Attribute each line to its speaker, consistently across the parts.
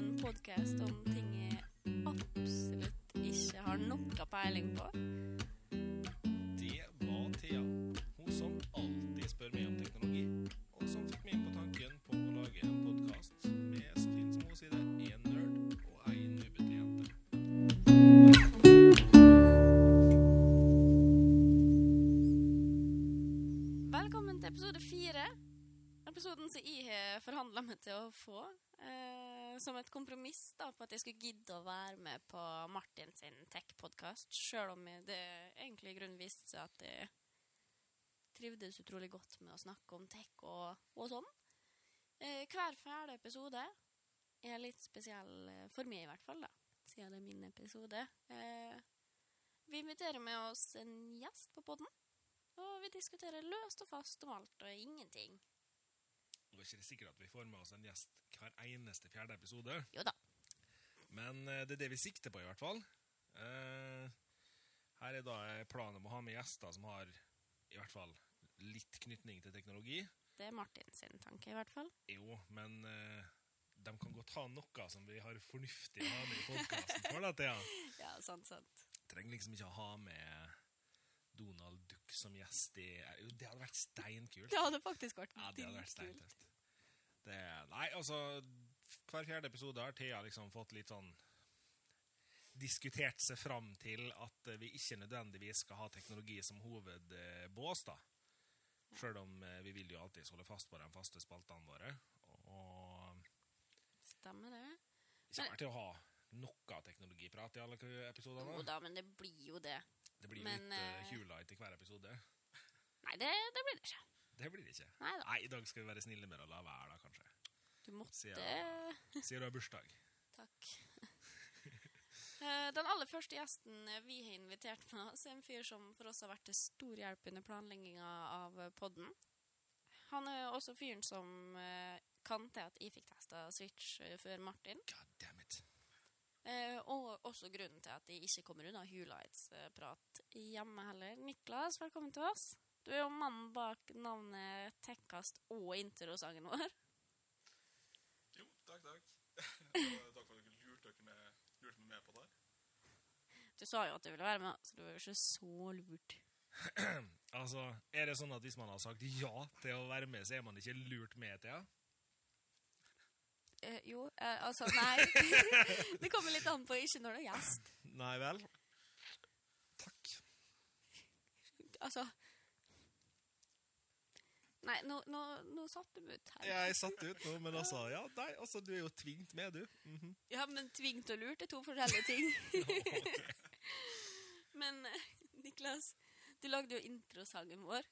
Speaker 1: seriøst om ting jeg absolutt ikke har noe peiling på.
Speaker 2: Det var Thea, hun som alltid spør meg om teknologi, og som fikk meg inn på tanken på å lage en podkast med så fin som hun sier det, én nerd og ei nubbete jente.
Speaker 1: Velkommen til episode fire. Episoden som jeg har forhandla meg til å få. Eh, som et kompromiss da, på at jeg skulle gidde å være med på Martin sin tech-podkast. Sjøl om jeg, det egentlig i grunnen viste seg at jeg trivdes utrolig godt med å snakke om tech og, og sånn. Eh, hver fjerde episode er litt spesiell eh, for meg, i hvert fall, da, siden det er min episode. Eh, vi inviterer med oss en gjest på podden. Og vi diskuterer løst og fast om alt og ingenting.
Speaker 2: Og det er ikke sikkert at vi får med oss en gjest hver eneste fjerde episode,
Speaker 1: Jo da.
Speaker 2: men eh, det er det vi sikter på, i hvert fall. Eh, Her er da eh, planen om å ha med gjester som har i hvert fall litt knytning til teknologi.
Speaker 1: Det er Martin sin tanke, i hvert fall.
Speaker 2: Jo, men eh, de kan godt ha noe som vi har fornuftig å ha med i podkasten for, da, Thea.
Speaker 1: Ja, sant, sant.
Speaker 2: trenger liksom ikke å ha med Donald Duck som gjest i Jo, det hadde vært steinkult.
Speaker 1: Det hadde faktisk vært
Speaker 2: Ja, det hadde vært
Speaker 1: dritkult.
Speaker 2: steintøft. Det, nei, altså Hver fjerde episode har Thea liksom fått litt sånn Diskutert seg fram til at eh, vi ikke nødvendigvis skal ha teknologi som hovedbås, da. Sjøl om eh, vi vil jo alltid holde fast på de faste spaltene våre. Og
Speaker 1: Stemmer det.
Speaker 2: kommer til å ha noe teknologiprat i alle
Speaker 1: Jo
Speaker 2: episodene.
Speaker 1: da, men det blir jo det.
Speaker 2: Det blir jo
Speaker 1: men,
Speaker 2: litt eh,
Speaker 1: eh,
Speaker 2: Hulight i hver episode.
Speaker 1: Nei, det, det blir det ikke.
Speaker 2: Det blir det ikke.
Speaker 1: Nei da.
Speaker 2: Nei, i dag skal vi være snille med å la være, da, kanskje.
Speaker 1: Du måtte
Speaker 2: Siden- Sier du har bursdag.
Speaker 1: Takk. Eh, Den aller første gjesten vi har invitert med oss, er en fyr som for oss har vært til stor hjelp under planlegginga av podden. Han er også fyren som eh, kan til at jeg fikk testa Switch eh, før Martin.
Speaker 2: God damn it.
Speaker 1: Eh, og også grunnen til at de ikke kommer unna Hulights-prat hjemme heller. Niklas, velkommen til oss. Du er jo mannen bak navnet Tekkast og introsangen vår.
Speaker 3: Jo, takk, takk. Og takk for at dere lurte dere med, lurte meg med på det. her.
Speaker 1: Du sa jo at du ville være med, så du er jo ikke så lurt.
Speaker 2: Altså, er det sånn at hvis man har sagt ja til å være med, så er man ikke lurt med til, ja?
Speaker 1: Eh, jo, eh, altså nei. det kommer litt an på ikke når du er gjest.
Speaker 2: Nei vel. Takk.
Speaker 1: Altså Nei, nå, nå, nå satt du meg ut her.
Speaker 2: Jeg satt ut nå, men altså, ja, nei, altså, du er jo tvingt med, du. Mhm.
Speaker 1: Ja, men tvingt og lurt er to forskjellige ting.
Speaker 2: Ok.
Speaker 1: Men eh, Niklas, du lagde jo introsangen vår.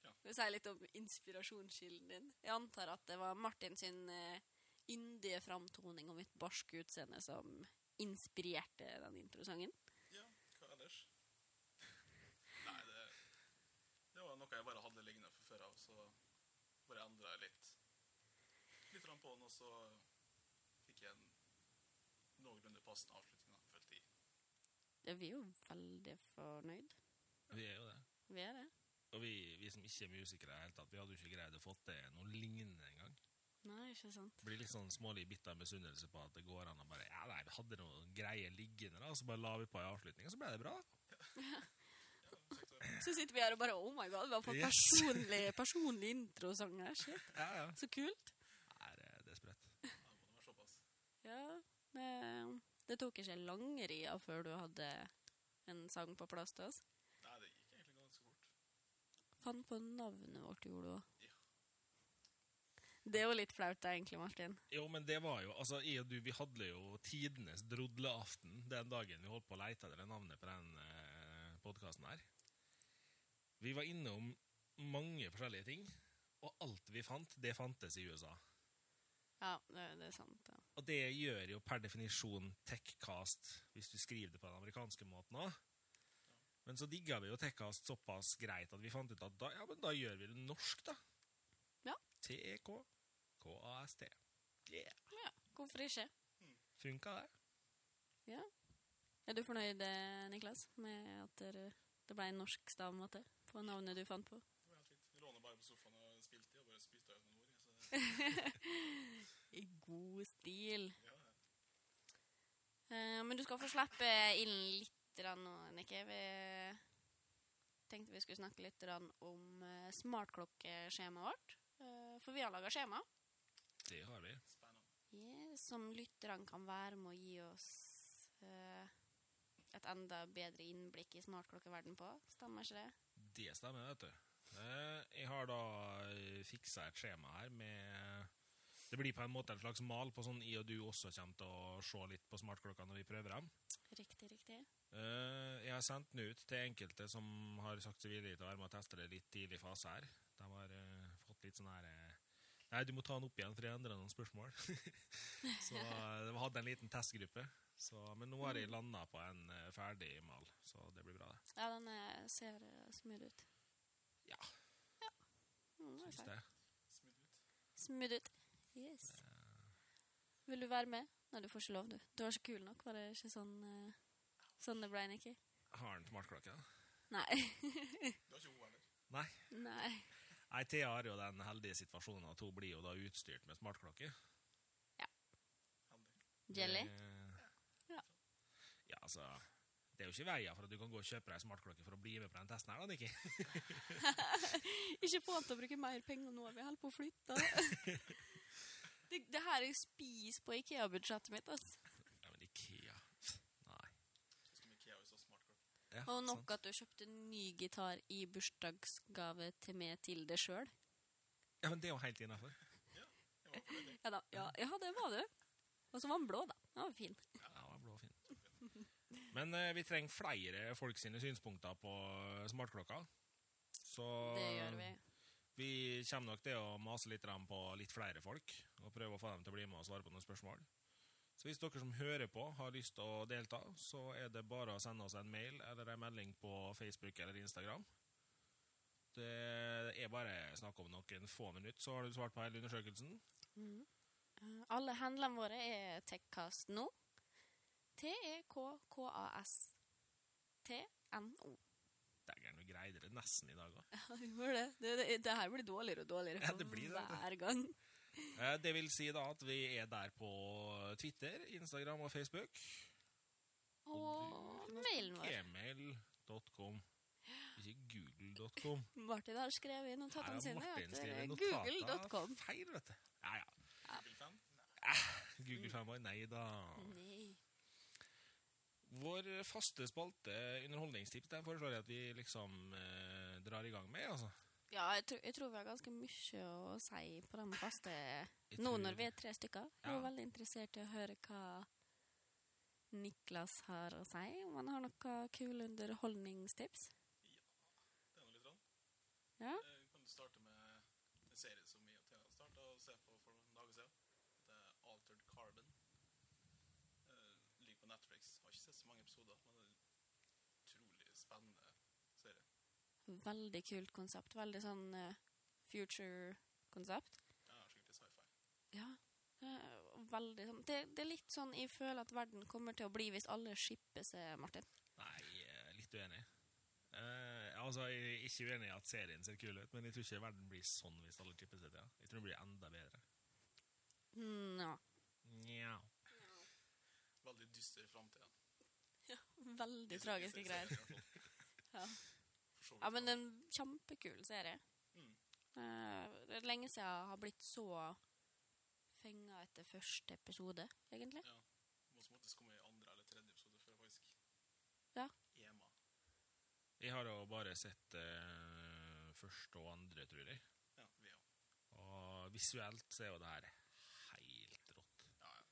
Speaker 3: Ja.
Speaker 1: Vil du si litt om inspirasjonskilden din? Jeg antar at det var Martin sin eh, yndige framtoning og mitt barske utseende som inspirerte den introsangen.
Speaker 3: Ja, hva ellers? Nei, det, det var noe jeg bare hadde liggende fra før av, så bare endra jeg litt. Litt fram på den, og så fikk jeg en noenlunde passende avslutning, da, følte jeg.
Speaker 1: Ja, vi er jo veldig fornøyd.
Speaker 2: Vi er jo det.
Speaker 1: Vi er det.
Speaker 2: Og vi, vi som ikke er musikere i det hele tatt, vi hadde jo ikke greid å få til noe lignende engang.
Speaker 1: Nei, ikke sant.
Speaker 2: blir litt sånn smålig bitt av misunnelse på at det går an å bare Ja, nei, vi hadde noen greier liggende, da, og så bare la vi på i avslutninga, så ble det bra.
Speaker 1: Så sitter vi her og bare Oh my god, vi har fått
Speaker 2: Yes.
Speaker 1: personlig, personlig introsang her. Shit,
Speaker 2: Ja, ja.
Speaker 1: så kult.
Speaker 2: Nei, det det er sprøtt.
Speaker 3: Da må det være såpass.
Speaker 1: Ja, det, det tok ikke lange ria før du hadde en sang på plass til oss.
Speaker 3: Nei, det gikk egentlig ganske fort.
Speaker 1: Fant på navnet vårt, gjorde du òg.
Speaker 3: Ja.
Speaker 1: Det er jo litt flaut, da, egentlig, Martin.
Speaker 2: Jo, men det var jo Altså, jeg og du, vi hadde jo tidenes drodleaften den dagen vi holdt på å leite etter det navnet på den eh, podkasten her. Vi var innom mange forskjellige ting, og alt vi fant, det fantes i USA.
Speaker 1: Ja, det, det er sant. Ja.
Speaker 2: Og det gjør jo per definisjon Techcast, hvis du skriver det på den amerikanske måten òg. Men så digga vi jo Techcast såpass greit at vi fant ut at da, ja, men da gjør vi det norsk, da. E
Speaker 1: Ja.
Speaker 2: T-E-K-K-A-S-T. Yeah.
Speaker 1: ja, Hvorfor ikke?
Speaker 2: Funka det?
Speaker 1: Er du fornøyd, eh, Niklas, med at dere- det ble en norsk stavmåte på navnet du fant på?
Speaker 3: Det var helt fint. Jeg låna bare på sofaen og spilte i, og bare spytta ut noen ord. jeg, Så det,
Speaker 1: I god stil.
Speaker 3: ja, ja.
Speaker 1: Eh, men du skal få slippe ilden litt grann nå, Nikke. Vi tenkte vi skulle snakke litt grann om eh, smartklokkeskjemaet vårt. Eh, For vi har laga skjema
Speaker 2: Det har vi.
Speaker 3: Spennende.
Speaker 1: ja, som lytterne kan være med å gi oss eh, et enda bedre innblikk i smartklokkeverden på. Stemmer ikke det?
Speaker 2: Det stemmer, vet du. Eh, Jeg har da eh, fiksa et skjema her med Det blir på en måte en slags mal på sånn i og du også kommer til å se litt på smartklokka når vi prøver dem.
Speaker 1: Riktig, riktig.
Speaker 2: Eh, Jeg har sendt den ut til enkelte som har sagt seg villige til å være med og teste det litt tidlig fase her. De har eh, fått litt sånn her eh, Nei, du må ta den opp igjen, for jeg endrer noen spørsmål. så eh, vi hadde en liten testgruppe. Så, men nå har jeg landa på en eh, ferdig mal, så det blir bra, det.
Speaker 1: Ja, den eh, ser eh, smooth ut.
Speaker 2: Ja.
Speaker 1: Mm, den er
Speaker 2: Syns
Speaker 1: fin.
Speaker 2: det.
Speaker 3: Smooth ut.
Speaker 1: Smooth ut. Yes. Vil du være med? Nei, du får ikke lov, du. Du var ikke kul nok, var det ikke sånn eh, Sånn det ble, Nikki?
Speaker 2: Har han smartklokke? da?
Speaker 1: Nei.
Speaker 3: Du har ikke O, eller?
Speaker 2: Nei.
Speaker 1: Nei.
Speaker 2: Nei, Thea har jo den heldige situasjonen at hun blir jo da utstyrt med smartklokke.
Speaker 3: Heldig.
Speaker 1: Jelly?
Speaker 2: Eh. Det-
Speaker 1: Ja.
Speaker 2: Ja, altså Det er jo ikke veia for at du kan gå og kjøpe deg smartklokke for å bli med på den testen her, da, Nikki.
Speaker 1: Ikke få han til å bruke mer penger nå, vi holder på å flytte. det, det her er jo spis på Ikea-budsjettet mitt, altså.
Speaker 2: Ja, men Ikea Nei.
Speaker 3: Sånn som Ikea er jo så smart. Kort.
Speaker 2: Ja, sånn.
Speaker 1: Og
Speaker 2: sant.
Speaker 1: nok at du kjøpte en ny gitar i bursdagsgave til meg til deg sjøl.
Speaker 2: Ja, men det er jo helt innafor.
Speaker 3: Jeg var fornøyd, jeg.
Speaker 1: Ja da. Ja, ja, det var du. Og så var den blå, da. Den var fin.
Speaker 2: Ja, det var blå og fin. Men eh, vi trenger flere folk sine synspunkter på smartklokka. Så
Speaker 1: Det gjør vi.
Speaker 2: vi kommer nok til å mase litt grann på litt flere folk og prøve å få dem til å bli med og svare på noen spørsmål. Så hvis dere som hører på har lyst til å delta, så er det bare å sende oss en mail eller en melding på Facebook eller Instagram. Det er bare snakk om noen få minutter, så har du svart på hele undersøkelsen.
Speaker 1: Mm. Eh, Alle handlene våre er Techcast nå. E T-e-k-k-a-s. T-n-o.
Speaker 2: Dægeren, du greide det nesten i dag òg.
Speaker 1: Ja, vi gjør det. Det, det. det her blir dårligere og dårligere
Speaker 2: Ja, det blir det, vet du.
Speaker 1: hver gang.
Speaker 2: Eh, Det vil si da at vi er der på Twitter, Instagram og Facebook.
Speaker 1: Og mailen vår.
Speaker 2: Gmail.com. Ikke google.com.
Speaker 1: Martin har skrevet i notatene
Speaker 2: Her har
Speaker 1: sine
Speaker 2: Martin skrevet i
Speaker 1: at
Speaker 2: notater.
Speaker 1: google.com.
Speaker 2: Feil, vet du. Ja, ja.
Speaker 3: Google-fan? Nei.
Speaker 2: Google fanboy, nei da.
Speaker 1: Nei.
Speaker 2: Vår faste spalte underholdningstips, den foreslår jeg at vi liksom eh, drar i gang med, altså.
Speaker 1: Ja, jeg, tror- jeg tror vi har ganske mye å si på den faste
Speaker 2: Jeg
Speaker 1: Nå
Speaker 2: tror-
Speaker 1: når vi er tre stykker. Jeg er
Speaker 2: Ja.
Speaker 1: veldig interessert i å høre hva Niklas har å si. Om han har noen kule underholdningstips.
Speaker 3: Det er noe litt rann.
Speaker 1: Ja.
Speaker 3: Eh, Kan du starte med en serie som vi og Thea starta å se på for noen dager siden? Det er Altered Carbon. Eh, Ligger på Netflix. Har ikke sett så mange episoder, men det er en utrolig spennende serie.
Speaker 1: Veldig kult konsept. Veldig sånn eh, future-konsept.
Speaker 3: Ja, skikkelig sci-fi.
Speaker 1: Ja. eh, Veldig sånn det, det er litt sånn jeg føler at verden kommer til å bli hvis alle skipper seg, Martin.
Speaker 2: Nei, eh, litt uenig. Eh, altså, jeg er ikke uenig i at serien ser kul ut, men jeg tror ikke verden blir sånn hvis alle chipper seg til. Ja. Jeg tror den blir enda bedre.
Speaker 1: Nja.
Speaker 2: Nja.
Speaker 3: Veldig dyster framtid.
Speaker 1: Veldig tragiske greier. Ja.
Speaker 3: For så
Speaker 1: Ja,
Speaker 3: vidt.
Speaker 1: men en kjempekul serie.
Speaker 3: Mm.
Speaker 1: Eh, det er lenge siden jeg har blitt så fenga etter første episode, egentlig.
Speaker 3: Må som oftest komme i andre eller tredje episode før faktisk
Speaker 1: Ja.
Speaker 3: Ema.
Speaker 2: Jeg har jo bare sett eh, første og andre, tror jeg.
Speaker 3: Ja, vi òg.
Speaker 2: Og visuelt så er jo det her helt rått.
Speaker 3: Ja, ja.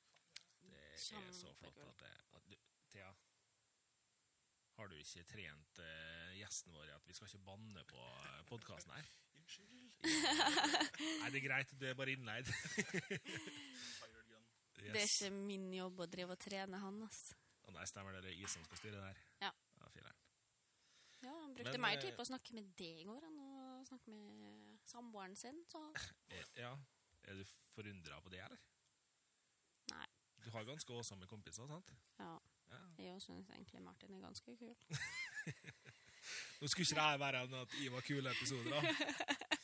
Speaker 2: Det er så flott at det at du, Thea, har du ikke trent eh, gjesten vår i at vi skal ikke banne på podkasten her?
Speaker 3: Unnskyld.
Speaker 2: Nei, det er greit, du er bare innleid.
Speaker 3: Fired gun.
Speaker 1: Det er
Speaker 2: Yes.
Speaker 1: ikke min jobb å drive og trene han, ass.
Speaker 2: Å nei, stemmer det, det er jeg som skal styre det her.
Speaker 1: Ja.
Speaker 2: filler'n.
Speaker 1: Ja, han brukte
Speaker 2: Men,
Speaker 1: mer
Speaker 2: eh,
Speaker 1: tid på å snakke med deg i går enn å snakke med samboeren sin, så
Speaker 2: Eh, ja. Er du forundra på det, eller?
Speaker 1: Nei.
Speaker 2: Du har ganske åsomme kompiser, sant?
Speaker 1: ja.
Speaker 2: Ja.
Speaker 1: Jeg syns egentlig Martin er ganske kul.
Speaker 2: Nå skulle ikke det her være en at jeg var kule episoder, da.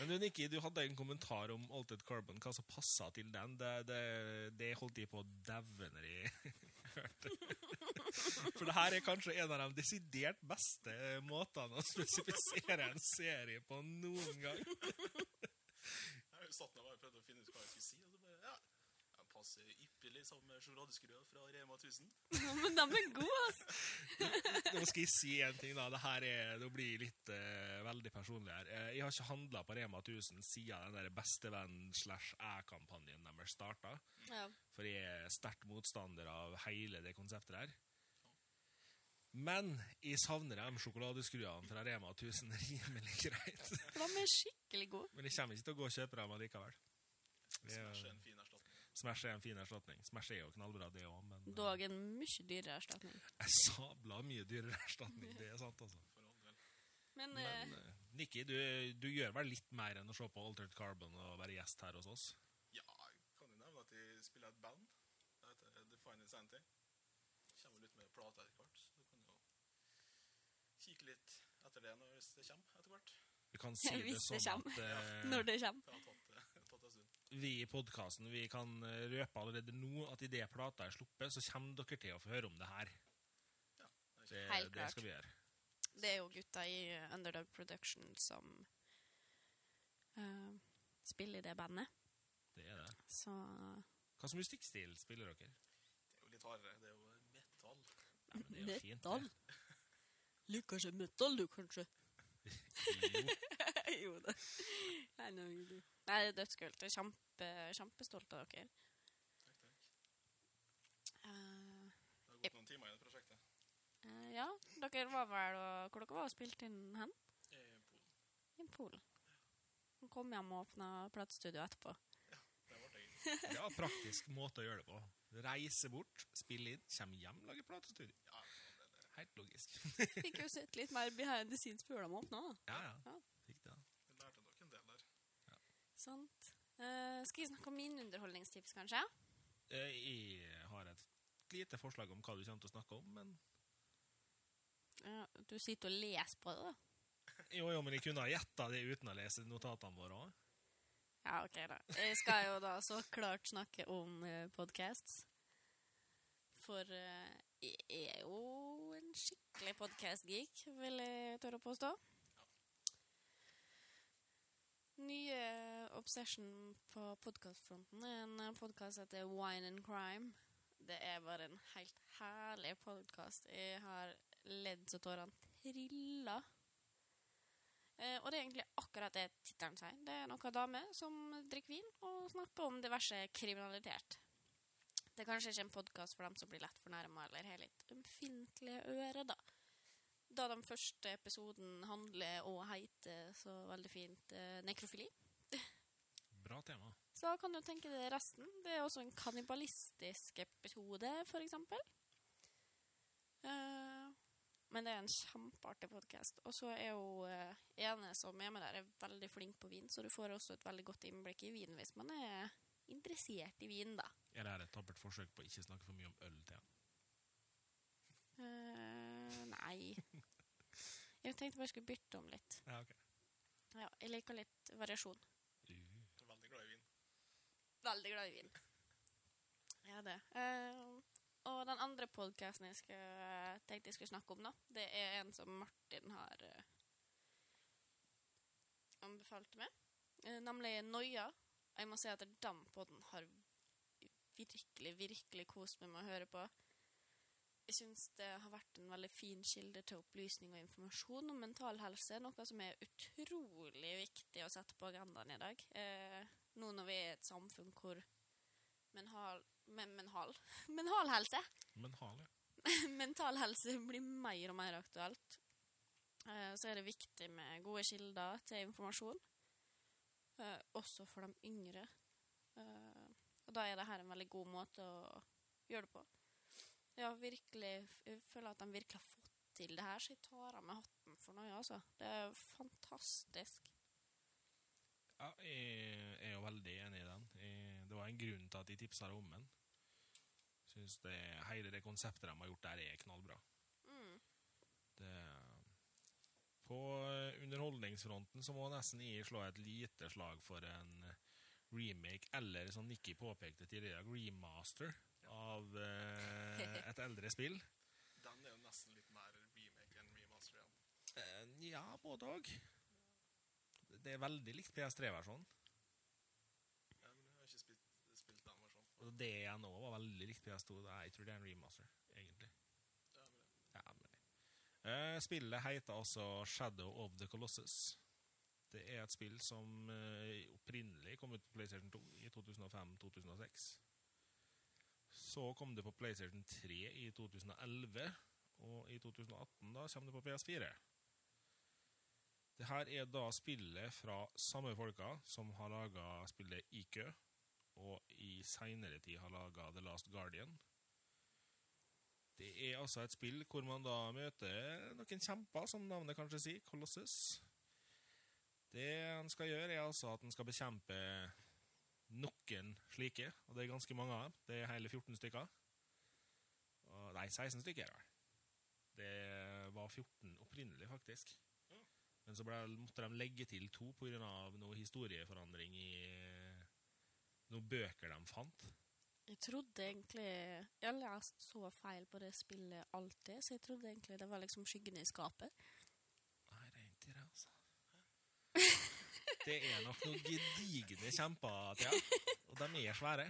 Speaker 2: Men du, Nikki, du hadde en kommentar om Altered Carbon, hva som passa til den. Det, det, det holdt de på å daue når jeg hørte For det her er kanskje en av de desidert beste måtene å spesifisere en serie på noen gang.
Speaker 3: Jeg satt ned og bare prøvde å finne ut hva jeg skulle si, og så bare Ja. Den passer ypperlig sammen med sjokoladeskrua fra Rema 1000.
Speaker 1: Men de er gode, altså.
Speaker 2: Nå skal jeg si en ting, da. Det her er, nå blir jeg litt eh, veldig personlig her. Eh, jeg har ikke handla på Rema 1000 siden den der bestevenn-slash-æ-kampanjen deres starta.
Speaker 1: Ja.
Speaker 2: For jeg er sterkt motstander av hele det konseptet der. Men jeg savner de sjokoladeskruene fra Rema 1000 rimelig greit.
Speaker 1: For de er skikkelig gode.
Speaker 2: Men jeg kommer ikke til å gå og kjøpe dem allikevel. Det er-
Speaker 3: Smash er en fin
Speaker 2: Smash er en fin
Speaker 3: erstatning.
Speaker 2: erstatning. Smash er jo knallbra, det òg, men eh,
Speaker 1: Dog en mye dyrere erstatning.
Speaker 2: en sabla mye dyrere erstatning. Det er sant, altså.
Speaker 3: For all del.
Speaker 1: Men,
Speaker 2: Men
Speaker 1: eh,
Speaker 2: eh, Nikki, du, du gjør vel litt mer enn å se på Altered Carbon og være gjest her hos oss?
Speaker 3: Ja, kan jo nevne at de spiller et band. Det heter Define Insanity. Kommer vel ut med plate etter hvert, så du kan jo kikke litt etter det når hvis det kommer etter hvert.
Speaker 2: Vi kan si det
Speaker 1: Hvis det
Speaker 2: sånn at eh,
Speaker 1: når det kommer.
Speaker 3: Det har tatt, eh, tatt en stund.
Speaker 2: vi i podkasten kan eh, røpe allerede nå at idet plata er sluppet, så kommer dere til å få høre om det her. Det,
Speaker 1: Helt
Speaker 2: det
Speaker 1: klart.
Speaker 2: skal vi gjøre.
Speaker 1: Det er jo gutta i eh, Underdog Production som eh, spiller i det bandet.
Speaker 2: Det er det.
Speaker 1: Så
Speaker 2: Hva slags musikkstil spiller dere?
Speaker 3: Det er jo litt hardere. Det er jo metall.
Speaker 2: Ja, men det er jo fint, det.
Speaker 1: Liker ikke metal, du, kanskje?
Speaker 2: Jo,
Speaker 1: jo da. Nei, nå er du- Nei, det er dødskult. Jeg er kjempe, kjempestolt av dere.
Speaker 3: Takk, takk.
Speaker 1: Eh,
Speaker 3: Det har gått noen timer i det prosjektet.
Speaker 1: eh, ja, dere var vel og, Hvor dere var og spilte inn hen?
Speaker 3: Eh, Polen.
Speaker 1: I Polen. Så Kom hjem og åpna platestudio etterpå.
Speaker 3: Det ble gøy.
Speaker 2: det er en praktisk måte å gjøre det på. Reise bort, spille inn, komme hjem, lage platestudio.
Speaker 3: Ja, for all del.
Speaker 2: Helt logisk.
Speaker 1: Fikk jo sett litt mer behind the scenes før de åpna. da.
Speaker 2: Ja, ja.
Speaker 1: Ja.
Speaker 2: Fikk det.
Speaker 3: Jeg lærte nok en del der.
Speaker 1: Sant. Eh, skal jeg snakke om min underholdningstips, kanskje?
Speaker 2: Eh, Jeg har et lite forslag om hva du kommer til å snakke om, men
Speaker 1: Ja, du sitter og leser på det, da.
Speaker 2: Jo, jo, men jeg kunne ha gjetta det uten å lese notatene våre òg.
Speaker 1: Ja, ok, da. Jeg skal jo da så klart snakke om eh, podcasts. For eh, jeg er jo en skikkelig podcast-geek, vil jeg tørre å påstå. Nye obsession på podcastfronten er en eh, podcast som heter Wine and Crime. Det er bare en helt herlig podcast. Jeg har ledd så tårene trilla Eh, og det er egentlig akkurat det tittelen sier. Det er noen damer som drikker vin og snakker om diverse kriminalitet. Det er kanskje ikke en podkast for dem som blir lett fornærma eller har litt ømfintlige ører, da. Da den første episoden handler og heter så veldig fint eh, nekrofili,
Speaker 2: Bra tema.
Speaker 1: så da kan du tenke deg resten. Det er også en kannibalistisk episode, for eksempel. Eh, men det er en kjempeartig podkast. Og så er jo uh, ene som er med der, er veldig flink på vin, så du får også et veldig godt innblikk i vin hvis man er interessert i vin, da.
Speaker 2: Er det her et tappert forsøk på å ikke snakke for mye om øl til?
Speaker 1: Eh, nei. Jeg tenkte bare jeg skulle bytte om litt.
Speaker 2: Ja, ok.
Speaker 1: Ja, jeg liker litt variasjon.
Speaker 3: Jeg er veldig glad i vin.
Speaker 1: Veldig glad i vin. Ja, det. Eh, og den andre podkasten jeg skal, tenkte jeg skulle snakke om, da, det er en som Martin har eh, anbefalt meg, eh, nemlig Noia. Og jeg må si at den podden har virkelig, virkelig kost meg med å høre på. Jeg syns det har vært en veldig fin kilde til opplysning og informasjon om mental helse, noe som er utrolig viktig å sette på agendaen i dag. Eh, nå når vi er i et samfunn hvor menhal, men, menhal, menhal helse,
Speaker 2: Men hale.
Speaker 1: mental helse blir mer og mer aktuelt, eh, så er det viktig med gode kilder til informasjon, eh, også for de yngre. Eh, og da er det her en veldig god måte å gjøre det på. Jeg, har virkelig, jeg føler at de virkelig har fått til det her, så jeg tar av meg hatten for noe, altså. Det er fantastisk.
Speaker 2: Ja, jeg er jo veldig enig i den. Jeg- Det var en grunn til at de tipsa om den. Syns det hele det konseptet de har gjort der, er knallbra.
Speaker 1: Mm.
Speaker 2: Det På eh, underholdningsfronten så må nesten jeg slå et lite slag for en eh, remake, eller som Nikki påpekte tidligere, remaster av eh, et eldre spill.
Speaker 3: Den er jo nesten litt mer remake enn remaster igjen.
Speaker 2: Eh, ja, både òg. Det er veldig likt PS3-versjonen.
Speaker 3: Ja, men jeg har ikke spilt, spilt den versjonen.
Speaker 2: Og det igjen òg var veldig likt PS2. Nei, Jeg tror det er en remaster, egentlig.
Speaker 3: Ja, men det-
Speaker 2: Ja, men det. Eh, spillet heter altså Shadow of the Colossus. Det er et spill som eh, opprinnelig kom ut på PlayStation 2 i 2005-2006. Så kom det på PlayStation 3 i 2011, og i 2018 da kommer det på PS4. Det her er da spillet fra samme folka som har laga spillet IQ, og i seinere tid har laga The Last Guardian. Det er altså et spill hvor man da møter noen kjemper, som navnet kanskje sier, Colossus. Det han skal gjøre, er altså at han skal bekjempe noen slike, og det er ganske mange av dem. Det er hele 14 stykker. Og, nei, 16 stykker er det vel. Det var 14 opprinnelig, faktisk. Men så ble, måtte de legge til to pga. noe historieforandring i noen bøker de fant.
Speaker 1: Jeg trodde egentlig Jeg har lest så feil på det spillet alltid, så jeg trodde egentlig det var liksom skyggene i skapet.
Speaker 2: Nei, rent i det, altså. Det er nok noen gedigne kjemper, Thea. Og de er svære.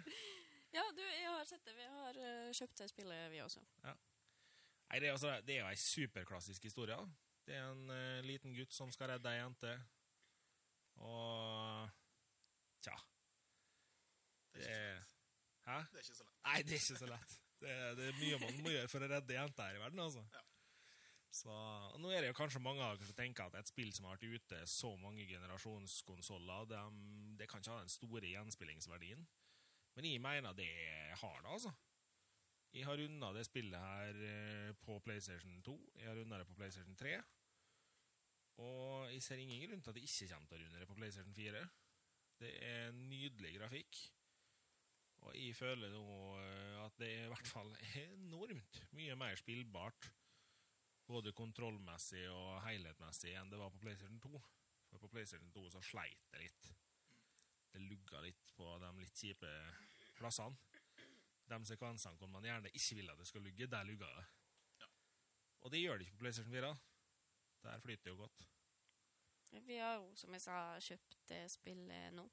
Speaker 1: Ja, du, jeg har sett det. Vi har eh, kjøpt det spillet, vi også.
Speaker 2: Nei, det er, altså, det er jo ei superklassisk historie. da. Det er en eh, liten gutt som skal redde ei jente. Og Tja.
Speaker 3: Det er
Speaker 2: Hæ?
Speaker 3: ikke så lett. Det er ikke så lett.
Speaker 2: Nei, det er ikke så lett. Det, det er mye man må gjøre for å redde jenter her i verden, altså.
Speaker 3: Ja.
Speaker 2: Så, og nå er det jo kanskje mange av dere som tenker at et spill som har vært ute så mange generasjonskonsoller, det, mm, det kan ikke ha den store gjenspillingsverdien. Men jeg mener det har det, altså. Jeg har runda det spillet her eh, på PlayStation 2, jeg har runda det på PlayStation 3. Og jeg ser ingen grunn til at jeg ikke kommer til å runde det på PlayStation 4. Det er nydelig grafikk. Og jeg føler nå eh, at det er i hvert fall enormt mye mer spillbart, både kontrollmessig og helhetmessig, enn det var på PlayStation 2. For på PlayStation 2 så sleit det litt. Det lugga litt på de litt kjipe plassene. De sekvensene hvor man gjerne ikke ville at det skulle lugge, der lugga det.
Speaker 3: Ja.
Speaker 2: Og det gjør det ikke på PlayStation 4. Der flyter det jo godt.
Speaker 1: Vi har jo, som jeg sa, kjøpt det spillet nå.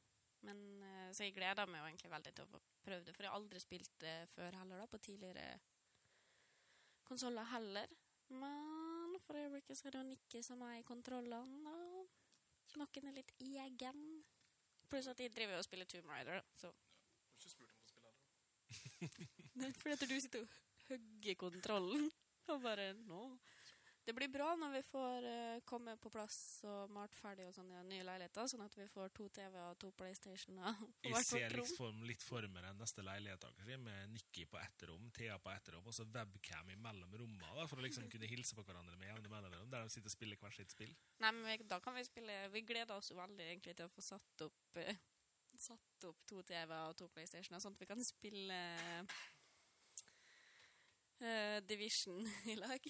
Speaker 1: Men, eh, så jeg gleder meg jo egentlig veldig til å få prøve det, for jeg har aldri spilt det før heller, da, på tidligere konsoller heller. Men for øyeblikket så er det jo Nikki som er i kontrollene, da. Smaken er litt egen. Pluss at jeg driver og spiller Tomb Raider, da, så
Speaker 3: Du har ikke spurt om å spille heller.
Speaker 1: Nei, Fordi at du sitter og hugger kontrollen. Og bare nå. Det blir bra når vi får eh, komme på plass og malt ferdig og sånn i den nye leiligheten, sånn at vi får to TV og to PlayStation og og
Speaker 2: Jeg
Speaker 1: hvert
Speaker 2: ser
Speaker 1: vårt rom.
Speaker 2: liksom litt for meg den neste leiligheten kanskje, med Nikki på ett rom, Thea på ett rom, og så webcam imellom rommene, da, for å liksom kunne hilse på hverandre med jevne mellomrom, der de sitter og spiller hvert sitt spill.
Speaker 1: Nei, men vi, da kan vi spille Vi gleder oss jo veldig egentlig til å få satt opp eh, Satt opp to TV og to PlayStation, sånn at vi kan spille eh, Division i lag.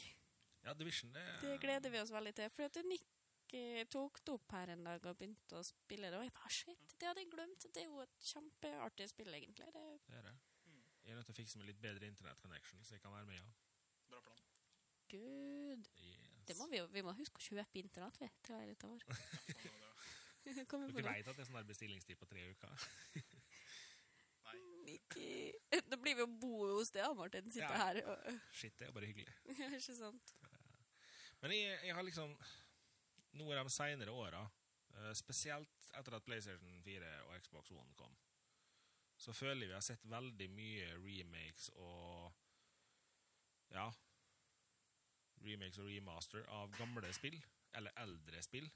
Speaker 2: Ja, Division, det
Speaker 1: Det gleder vi oss veldig til. For at Nick eh, tok det opp her en dag og begynte å spille det. Og jeg bare shit, det hadde jeg glemt. Det er jo et kjempeartig spill, egentlig. Det,
Speaker 2: Det er det. Jeg er nødt til å fikse meg litt bedre internettconnection, så jeg kan være med, ja.
Speaker 3: Bra plan.
Speaker 1: Gud.
Speaker 2: Yes.
Speaker 1: Det må vi jo vi må huske å kjøpe internett, vi, til leiligheten vår.
Speaker 3: Ja, faen, Sånn det var det.
Speaker 1: Kommer på
Speaker 2: Dere
Speaker 1: det.
Speaker 2: vet at det er sånn der bestillingstid på tre uker.
Speaker 3: Nei.
Speaker 1: Nikki. Da eh, blir vi jo bo hos deg, da, Martin. Sitte
Speaker 2: Ja.
Speaker 1: her og
Speaker 2: Shit, det er jo bare hyggelig.
Speaker 1: Ikke sant?
Speaker 2: Men jeg, jeg har liksom Noen av de senere åra, eh, spesielt etter at PlayStation 4 og Xbox One kom, så føler jeg vi har sett veldig mye remakes og Ja. Remakes og remaster av gamle spill, eller eldre spill.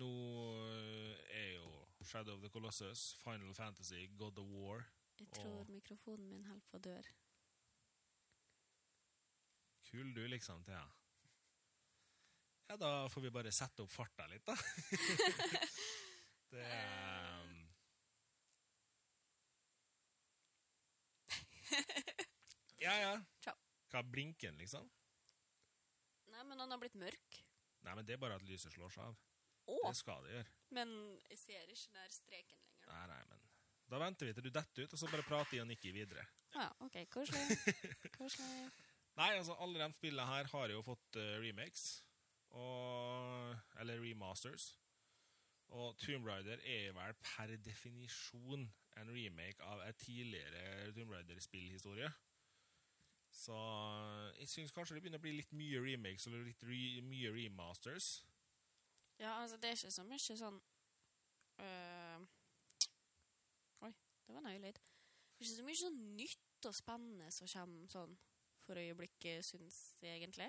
Speaker 2: Nå eh, er jo Shadow of the Colossus, Final Fantasy, God of War
Speaker 1: Jeg
Speaker 2: Åh.
Speaker 1: tror mikrofonen min holder på å dør.
Speaker 2: Kul du, liksom, Thea. Ja, da får vi bare sette opp farta litt, da. det ehm, Ja, ja.
Speaker 1: Ciao.
Speaker 2: Hva liksom? blinken, liksom?
Speaker 1: Nei, men han har blitt mørk.
Speaker 2: Nei, men det er bare at lyset slår seg av.
Speaker 1: Å!
Speaker 2: Det skal det gjøre.
Speaker 1: Men jeg ser ikke den der streken lenger.
Speaker 2: Nei, nei, men Da venter vi til du detter ut, og så bare prater i og nikker videre.
Speaker 1: Ja, OK. Koselig. Koselig.
Speaker 2: Nei, altså, alle de spillene her har jo fått eh, remakes. Og Eller remasters. Og Tomb Raider er vel per definisjon en remake av en tidligere Tomb Raider-spillhistorie. Så eh, jeg syns kanskje det begynner å bli litt mye remakes eller litt re mye remasters.
Speaker 1: Ja, altså, det er ikke så mye sånn øh, Oi, det var en høy lyd. Det er ikke så mye sånn nytt og spennende som kommer sånn for øyeblikket, syns jeg egentlig.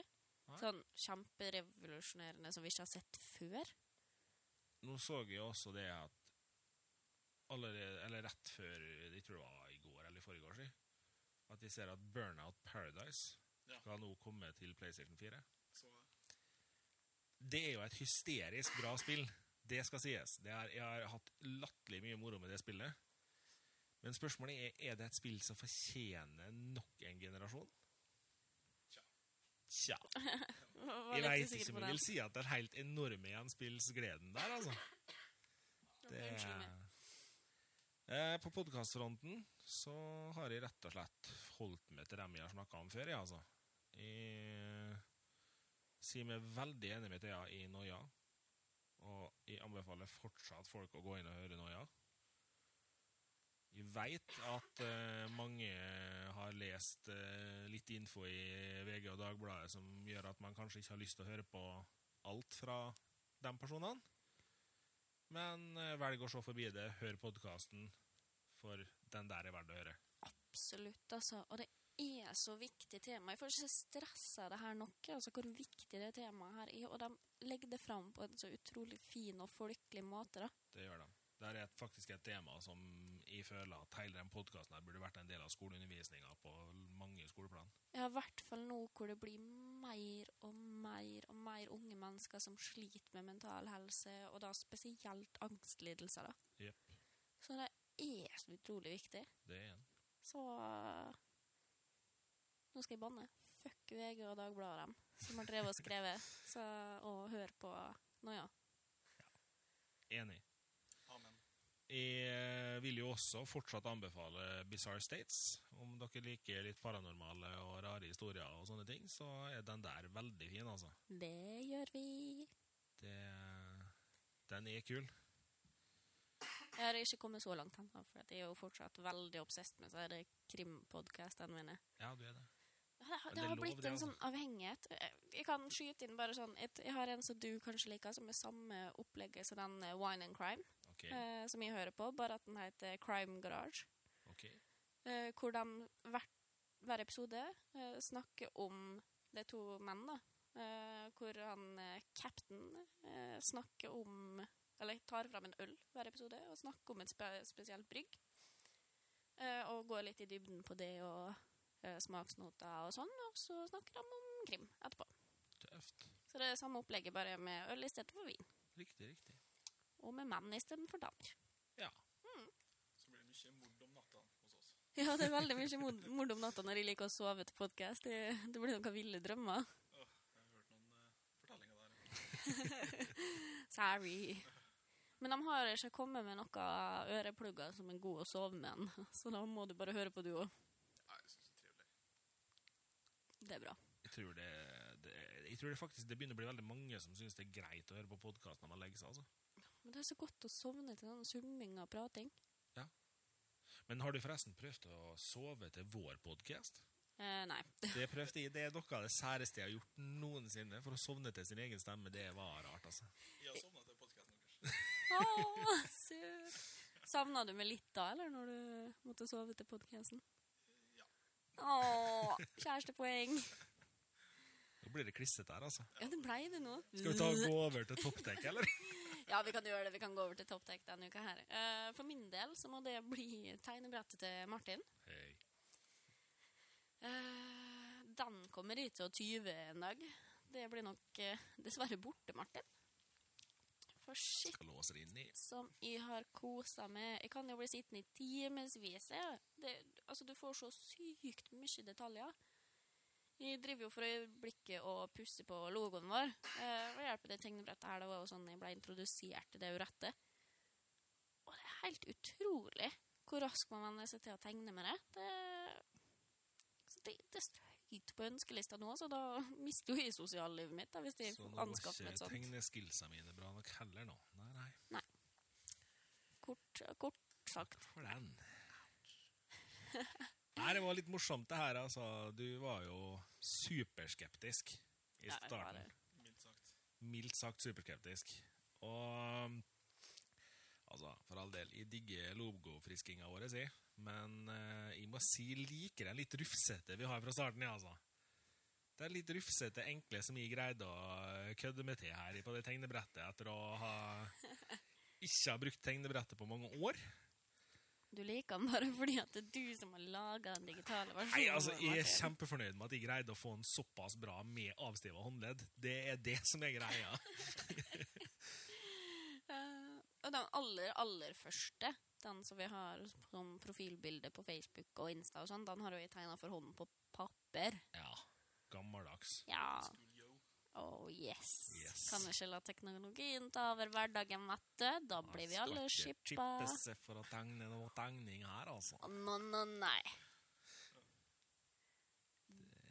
Speaker 2: Nei.
Speaker 1: Sånn kjemperevolusjonerende som vi ikke har sett før.
Speaker 2: Nå så jeg også det at allerede, Eller rett før Jeg tror det var i går eller i forrige år At vi ser at Burnout Paradise
Speaker 3: Ja.
Speaker 2: skal nå komme til PlayStation 4.
Speaker 3: Så
Speaker 2: Det er jo et hysterisk bra spill. Det skal sies. Det er, jeg har hatt latterlig mye moro med det spillet. Men spørsmålet er er det et spill som fortjener nok en generasjon.
Speaker 3: Tja.
Speaker 2: Tja.
Speaker 1: Var
Speaker 2: Jeg
Speaker 1: litt
Speaker 2: veit
Speaker 1: usikker
Speaker 2: ikke
Speaker 1: på
Speaker 2: om jeg
Speaker 1: den.
Speaker 2: vil si at det er helt enorme gjenspillsgleden der, altså.
Speaker 1: Ja,
Speaker 2: Det
Speaker 1: unnskyld meg.
Speaker 2: Eh, På podkastfronten så har jeg rett og slett holdt meg til dem jeg har snakka om før, jeg, altså. Jeg sier meg veldig enig med Thea i Noia, og jeg anbefaler fortsatt folk å gå inn og høre Noia. Jeg veit at eh, mange har lest eh, litt info i VG og Dagbladet som gjør at man kanskje ikke har lyst til å høre på alt fra de personene. Men eh, velg å se forbi det. Hør podkasten, for den der er verdt å høre.
Speaker 1: Absolutt, altså. Og det er så viktig tema. Jeg får ikke stressa det her noe, altså hvor viktig det temaet her er. Og de legger det fram på en så utrolig fin og folkelig måte, da.
Speaker 2: Det gjør de. Det er et, faktisk et tema som jeg føler at hele den podkasten burde vært en del av skoleundervisninga på mange skoleplan.
Speaker 1: Ja, i hvert fall nå hvor det blir mer og mer og mer unge mennesker som sliter med mental helse, og da spesielt angstlidelser, da.
Speaker 2: Jep.
Speaker 1: Så det er så utrolig viktig.
Speaker 2: Det er en.
Speaker 1: Så Nå skal jeg banne. Fuck VG og Dagbladet dem, som har drevet og skrevet. Så, og hør på Noia.
Speaker 2: Enig.
Speaker 3: amen.
Speaker 2: Jeg vil jo også fortsatt anbefale Bizarre States. Om dere liker litt paranormale og rare historier og sånne ting, så er den der veldig fin, altså.
Speaker 1: Det gjør vi.
Speaker 2: Det, den er kul.
Speaker 1: Jeg har ikke kommet så langt ennå, for at jeg er jo fortsatt veldig obsess med så er det krimpodkastene mine.
Speaker 2: Ja, du er det.
Speaker 1: Ja, Det, har-
Speaker 2: det
Speaker 1: det har
Speaker 2: er lov,
Speaker 1: blitt
Speaker 2: det,
Speaker 1: en
Speaker 2: altså.
Speaker 1: sånn avhengighet. Eh, Jeg kan skyte inn bare sånn et, Jeg har en som du kanskje liker, som er samme opplegget som den eh, Wine and Crime,
Speaker 2: Ok.
Speaker 1: eh, som jeg hører på, bare at den heter Crime Garage.
Speaker 2: ok.
Speaker 1: eh, hvor de hver, hver episode eh, snakker om de to mennene. eh, hvor han eh, captain eh, snakker om Eller tar fram en øl hver episode og snakker om et spe spesielt brygg. Eh, og går litt i dybden på det og eh, smaksnoter og sånn. Og så snakker de om krim etterpå.
Speaker 2: Tøft.
Speaker 1: Så det er samme opplegget, bare med øl istedenfor vin.
Speaker 2: Riktig, riktig.
Speaker 1: Og med menn istedenfor damer.
Speaker 2: Ja.
Speaker 3: Så blir det mye mord om natta hos oss.
Speaker 1: Ja, det er veldig mye mod- mord om natta når jeg liker å sove til podkast. Det, det blir noen ville drømmer.
Speaker 3: Åh, jeg har hørt noen eh, fortellinger der. ja.
Speaker 1: Sorry. Men de har ikke kommet med noen øreplugger som er gode å sove med, en, så da må du bare høre på du òg.
Speaker 3: Nei, jeg synes det er trivelig.
Speaker 1: Det er bra.
Speaker 2: Jeg tror det, det Jeg tror det faktisk det begynner å bli veldig mange som syns det er greit å høre på podkast når man legger seg. altså.
Speaker 1: Men det er så godt å sovne til den summinga og prating.
Speaker 2: Men har du forresten prøvd å sove til vår podkast?
Speaker 1: Eh, nei.
Speaker 2: Det prøvde jeg. Det er noe av det særeste jeg har gjort noensinne. For å sovne til sin egen stemme, det var rart, altså.
Speaker 3: Jeg har sovnet til podcasten deres.
Speaker 1: Åh, søt! Savna du meg litt da, eller, når du måtte sove til podkasten?
Speaker 3: Ja.
Speaker 1: Åh, kjærestepoeng.
Speaker 2: Nå blir det klissete her, altså.
Speaker 1: Ja, det blei det nå.
Speaker 2: Skal vi ta og gå over til toppdekk, eller?
Speaker 1: Ja, vi kan gjøre det. Vi kan gå over til Toptech denne uka her. Eh, for min del så må det bli tegnebrettet til Martin.
Speaker 2: Hei.
Speaker 1: Eh, den kommer jeg til å tyve en dag. Det blir nok eh, dessverre borte, Martin. For shit
Speaker 2: Skal låse det inn i.
Speaker 1: som jeg har kosa meg. Jeg kan jo bli sittende i timevis. jeg. Det- Altså, du får så sykt mye detaljer. Vi driver jo for øyeblikket og pusser på logoen vår. Eh, hva hjelper det tegnebrettet her? Det var jo sånn jeg ble introdusert til det rettet. Og det er helt utrolig hvor raskt man venner seg til å tegne med det. Det, så det, det står høyt på ønskelista nå, så da mister jo jeg sosiallivet mitt da, hvis de
Speaker 2: Så nå var
Speaker 1: anskaffer meg et
Speaker 2: ikke
Speaker 1: sånt.
Speaker 2: tegneskillsene mine bra nok heller nå. Nei, nei.
Speaker 1: Kort, kort sagt.
Speaker 2: For den. Nei, det var litt morsomt det her, altså. Du var jo superskeptisk i
Speaker 1: Ja, jeg var
Speaker 2: starten.
Speaker 1: det.
Speaker 3: mildt sagt.
Speaker 2: Mildt sagt superskeptisk. Og altså, for all del, jeg digger logofriskinga vår, jeg. Men eh, jeg må si jeg liker den litt rufsete vi har fra starten, ja, altså. Det er litt rufsete, enkle som jeg greide å eh, kødde med til her på det tegnebrettet etter å ha ikke ha brukt tegnebrettet på mange år.
Speaker 1: Du liker den bare fordi at det er du som har laga den digitale versjonen.
Speaker 2: Nei, altså, Jeg er
Speaker 1: Martin.
Speaker 2: kjempefornøyd med at jeg greide å få den såpass bra med avstiva håndledd. Det er det som er greia.
Speaker 1: Eh, og den aller, aller første, den som vi har som profilbilde på Facebook og Insta og sånn, den har jo jeg tegna for hånden på papir.
Speaker 2: Ja, Gammeldags.
Speaker 1: Ja.
Speaker 3: School yo.
Speaker 1: Oh yes.
Speaker 2: Yes.
Speaker 1: Kan ikke la teknologien ta over hverdagen, vet du. Da blir vi alle skippa.
Speaker 2: Chippese for å tegne noe tegning her, altså.
Speaker 1: Å, no, no, nei.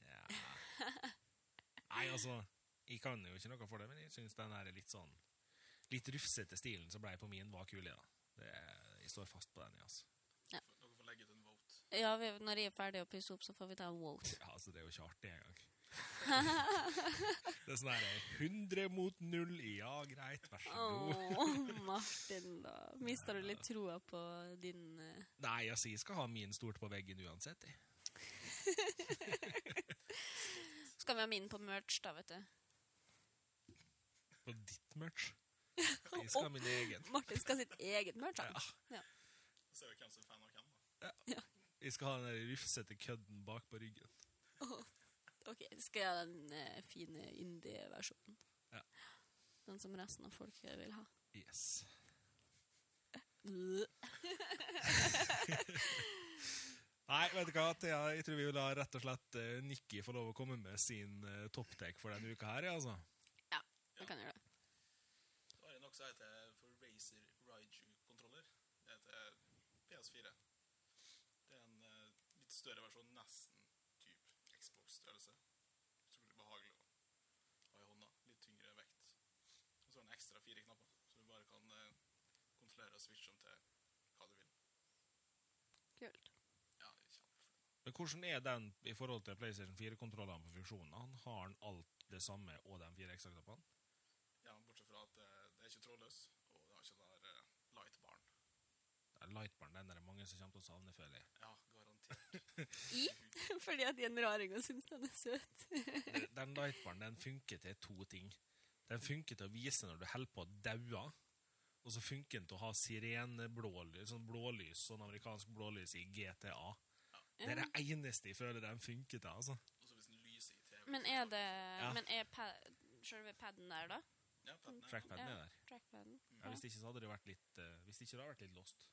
Speaker 2: Ja. Nei, altså, jeg kan jo ikke noe for det, men jeg syns den her er litt sånn Litt rufsete stilen som blei på min, var kul, ja. Det, jeg står fast på den, jeg, altså.
Speaker 3: Dere får legge ut en vote.
Speaker 1: Ja, vi, når jeg er ferdig å pusse opp, så får vi ta en vote.
Speaker 2: Ja, altså, det er jo ikke artig engang. det er sånn her 100 mot 0, ja, greit, vær så god.
Speaker 1: Åh, Martin, da. Mister du litt troa på din eh,
Speaker 2: Nei, altså, jeg skal ha min stort på veggen uansett. jeg.
Speaker 1: Skal vi ha min på merch, da, vet du.
Speaker 2: På ditt merch. Jeg skal ha min egen.
Speaker 1: Martin skal ha sitt eget merch. han.
Speaker 2: Ja.
Speaker 3: Så ser vi hvem som er fan av hvem. da.
Speaker 2: Jeg skal ha den der rufsete kødden bak på ryggen.
Speaker 1: Ok, skal jeg ha den eh, fine indie-versjonen?
Speaker 2: Ja.
Speaker 1: Den som resten av folket vil ha.
Speaker 2: Yes. Nei, vet du hva, Thea, jeg tror vi vil la rett og slett eh, Nikki få lov å komme med sin uh, topptek for denne uka her, ja, altså.
Speaker 1: Vi kan gjøre det.
Speaker 3: Da har jeg nok så heter jeg for Razer Raiju-kontroller. Det heter PS4. Det er en eh, litt større versjon, nesten typ Xbox-størrelse. Utrolig behagelig å ha i hånda. Litt tyngre vekt. Og så har den ekstra fire knapper, så du bare kan eh, kontrollere og switche om til hva du vil.
Speaker 1: Kult.
Speaker 3: Ja, det er kjempefornøyd.
Speaker 2: Men hvordan er den i forhold til PlayStation 4-kontrollene på funksjonene? Har den alt det samme og de fire ekstra knappene?
Speaker 3: Ja, bortsett fra at eh, det er ikke trådløs, og det har ikke den der eh, lightbaren.
Speaker 2: Ja, Lightbarn, den er det mange som kommer til å savne, føler jeg.
Speaker 3: Ja, garantert.
Speaker 1: I? Fordi at de er en raring og syns den er søt.
Speaker 2: Det- Den lightbaren den funker til to ting. Den funker til å vise når du holder på å daue, og så funker den til å ha sireneblålys, sånn blålys, sånn amerikansk blålys i GTA. Det er det eneste jeg føler den funker til, altså.
Speaker 3: Også hvis den lyser i TV.
Speaker 1: Men er det Men er pa selve paden der, da?
Speaker 3: Ja, paden er-
Speaker 2: Trackpaden er der.
Speaker 1: Trackpaden?
Speaker 2: Ja, hvis ikke så hadde det vært litt, eh, hvis ikke det hadde vært litt lost.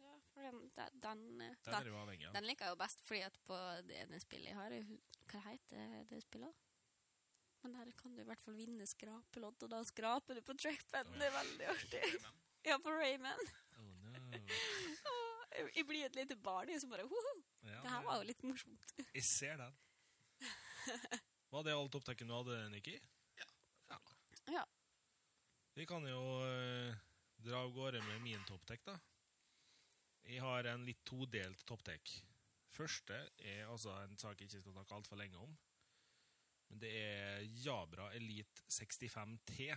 Speaker 1: Ja, for den, den, den, eh,
Speaker 2: Den er
Speaker 1: den,
Speaker 2: jo avhengig av.
Speaker 1: den liker jeg jo best fordi at på det ene spillet jeg har jeg hu- Hva heter det spillet? Men der kan du i hvert fall vinne skrapelodd, og da skraper du på trackpaden. Det er veldig artig.
Speaker 3: Rayman.
Speaker 1: Ja, på Rayman.
Speaker 2: Oh no.
Speaker 1: Jeg jeg blir et lite barn, jeg som bare «Woho,
Speaker 2: Ja,
Speaker 1: Det her var jo litt morsomt.
Speaker 2: Jeg ser den. Var det alt opptaket du hadde, Nikki?
Speaker 3: Ja.
Speaker 1: Ja.
Speaker 2: Vi kan jo eh, dra av gårde med min topptek, da. Jeg har en litt todelt topptek. Første er altså en sak jeg ikke skal snakke altfor lenge om. Men det er Jabra Elite 65T,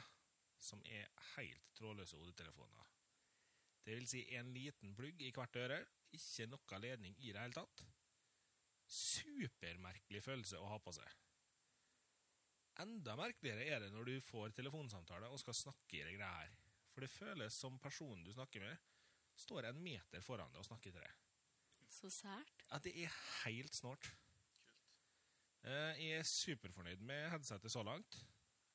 Speaker 2: som er helt trådløse hodetelefoner. Det vil si en liten plugg i hvert øre, ikke noe ledning i det hele tatt. Supermerkelig følelse å ha på seg. Enda merkeligere er det når du får telefonsamtale og skal snakke i det greia her. For det føles som personen du snakker med, står en meter foran deg og snakker til deg.
Speaker 1: Så sært.
Speaker 2: Ja, det er helt snålt.
Speaker 3: Kult.
Speaker 2: Eh, Jeg er superfornøyd med headsetet så langt.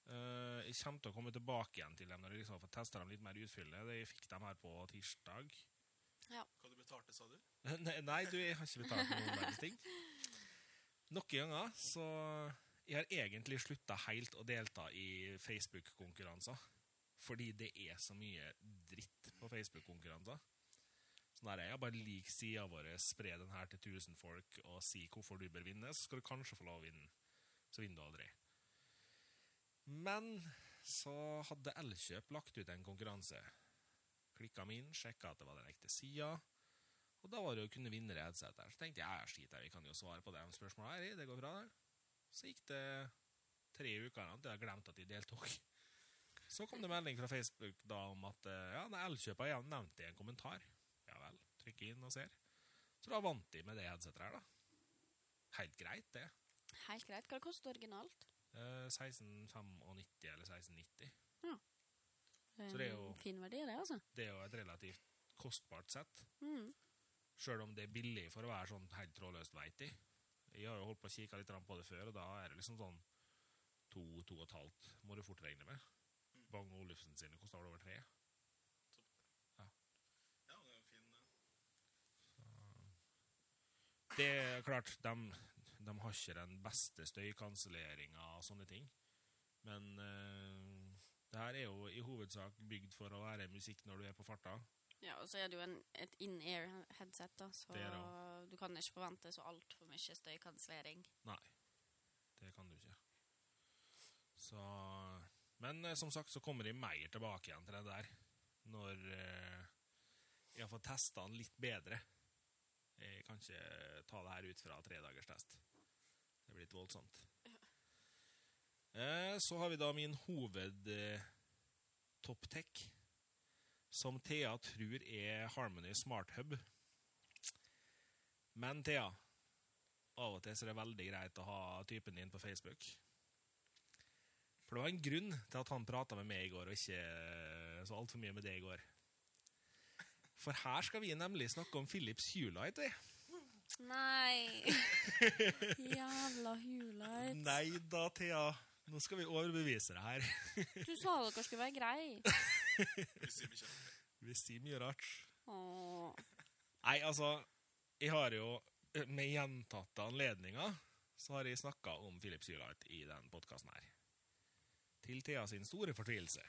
Speaker 2: Eh, Jeg kommer til å komme tilbake igjen til dem når jeg liksom har fått testa dem litt mer utfyllende. Jeg fikk dem her på tirsdag.
Speaker 3: Hva du betalte, sa du?
Speaker 2: Nei, nei, du, jeg har ikke betalt noen verdens ting. Noen ganger så Jeg har egentlig slutta helt å delta i Facebook-konkurranser. Fordi det er så mye dritt på Facebook-konkurranser. Sånn der, Jeg har bare lik sida vår, spre den her til 1000 folk og si hvorfor du bør vinne, så skal du kanskje få lov å vinne. Så vinner du aldri. Men så hadde Elkjøp lagt ut en konkurranse. Klikka meg inn, sjekka at det var den ekte sida. Og da var det jo å kunne vinne headset der. Så tenkte jeg ja, skit i det, vi kan jo svare på de spørsmålene her, i, det går bra. det. Så gikk det tre uker eller noe, jeg hadde glemt at de deltok. Så kom det melding fra Facebook da om at eh, ja, nei, Elkjøp har igjen nevnt det i en kommentar. Ja vel, trykker inn og ser. Så da vant de med det headsetet her, da. Helt greit, det.
Speaker 1: Helt greit. Hva det koster originalt?
Speaker 2: Eh, 1695 eller 1690.
Speaker 1: En
Speaker 2: det er jo-
Speaker 1: Fin verdi, det, altså.
Speaker 2: Det er jo et relativt kostbart sett.
Speaker 1: Mm.
Speaker 2: Sjøl om det er billig for å være sånn helt trådløst veit jeg. Jeg har jo holdt på å kikke litt grann på det før, og da er det liksom sånn to, to og et halvt må du fort regne med. Bang og Olufsen sine koster vel over tre.
Speaker 3: Ja, det er en fin eh,
Speaker 2: Det er klart, de, har ikke den beste støykanselleringa og sånne ting. Men eh, det her er jo i hovedsak bygd for å være musikk når du er på farta.
Speaker 1: Ja, og så er det jo en, et in-air-headset, da, så
Speaker 2: Det er det
Speaker 1: du kan ikke forvente så altfor mye støykansellering.
Speaker 2: Nei, det kan du ikke. Så, men eh, som sagt så kommer jeg mer tilbake igjen til det der når eh, jeg har fått testa den litt bedre. Jeg kan ikke ta det her ut fra tredagers test. Det blir litt voldsomt. Eh, så har vi da min hoved eh, top tech, som Thea tror er Harmony Smart Hub. Men Thea, av og til så er det veldig greit å ha typen din på Facebook. For det var en grunn til at han prata med meg i går, og ikke eh, så altfor mye med det i går. For her skal vi nemlig snakke om Philips Hulight. vi.
Speaker 1: Nei! Jævla hulight.
Speaker 2: Nei da, Thea. Nå skal vi overbevise deg her.
Speaker 1: Du sa dere skulle være grei.
Speaker 3: Vi sier mye.
Speaker 2: Vi sier mye rart.
Speaker 1: Åh.
Speaker 2: Nei, altså Jeg har jo eh, med gjentatte anledninger så har jeg snakka om Philips Hulight i den podkasten her. Til Thea sin store fortvilelse.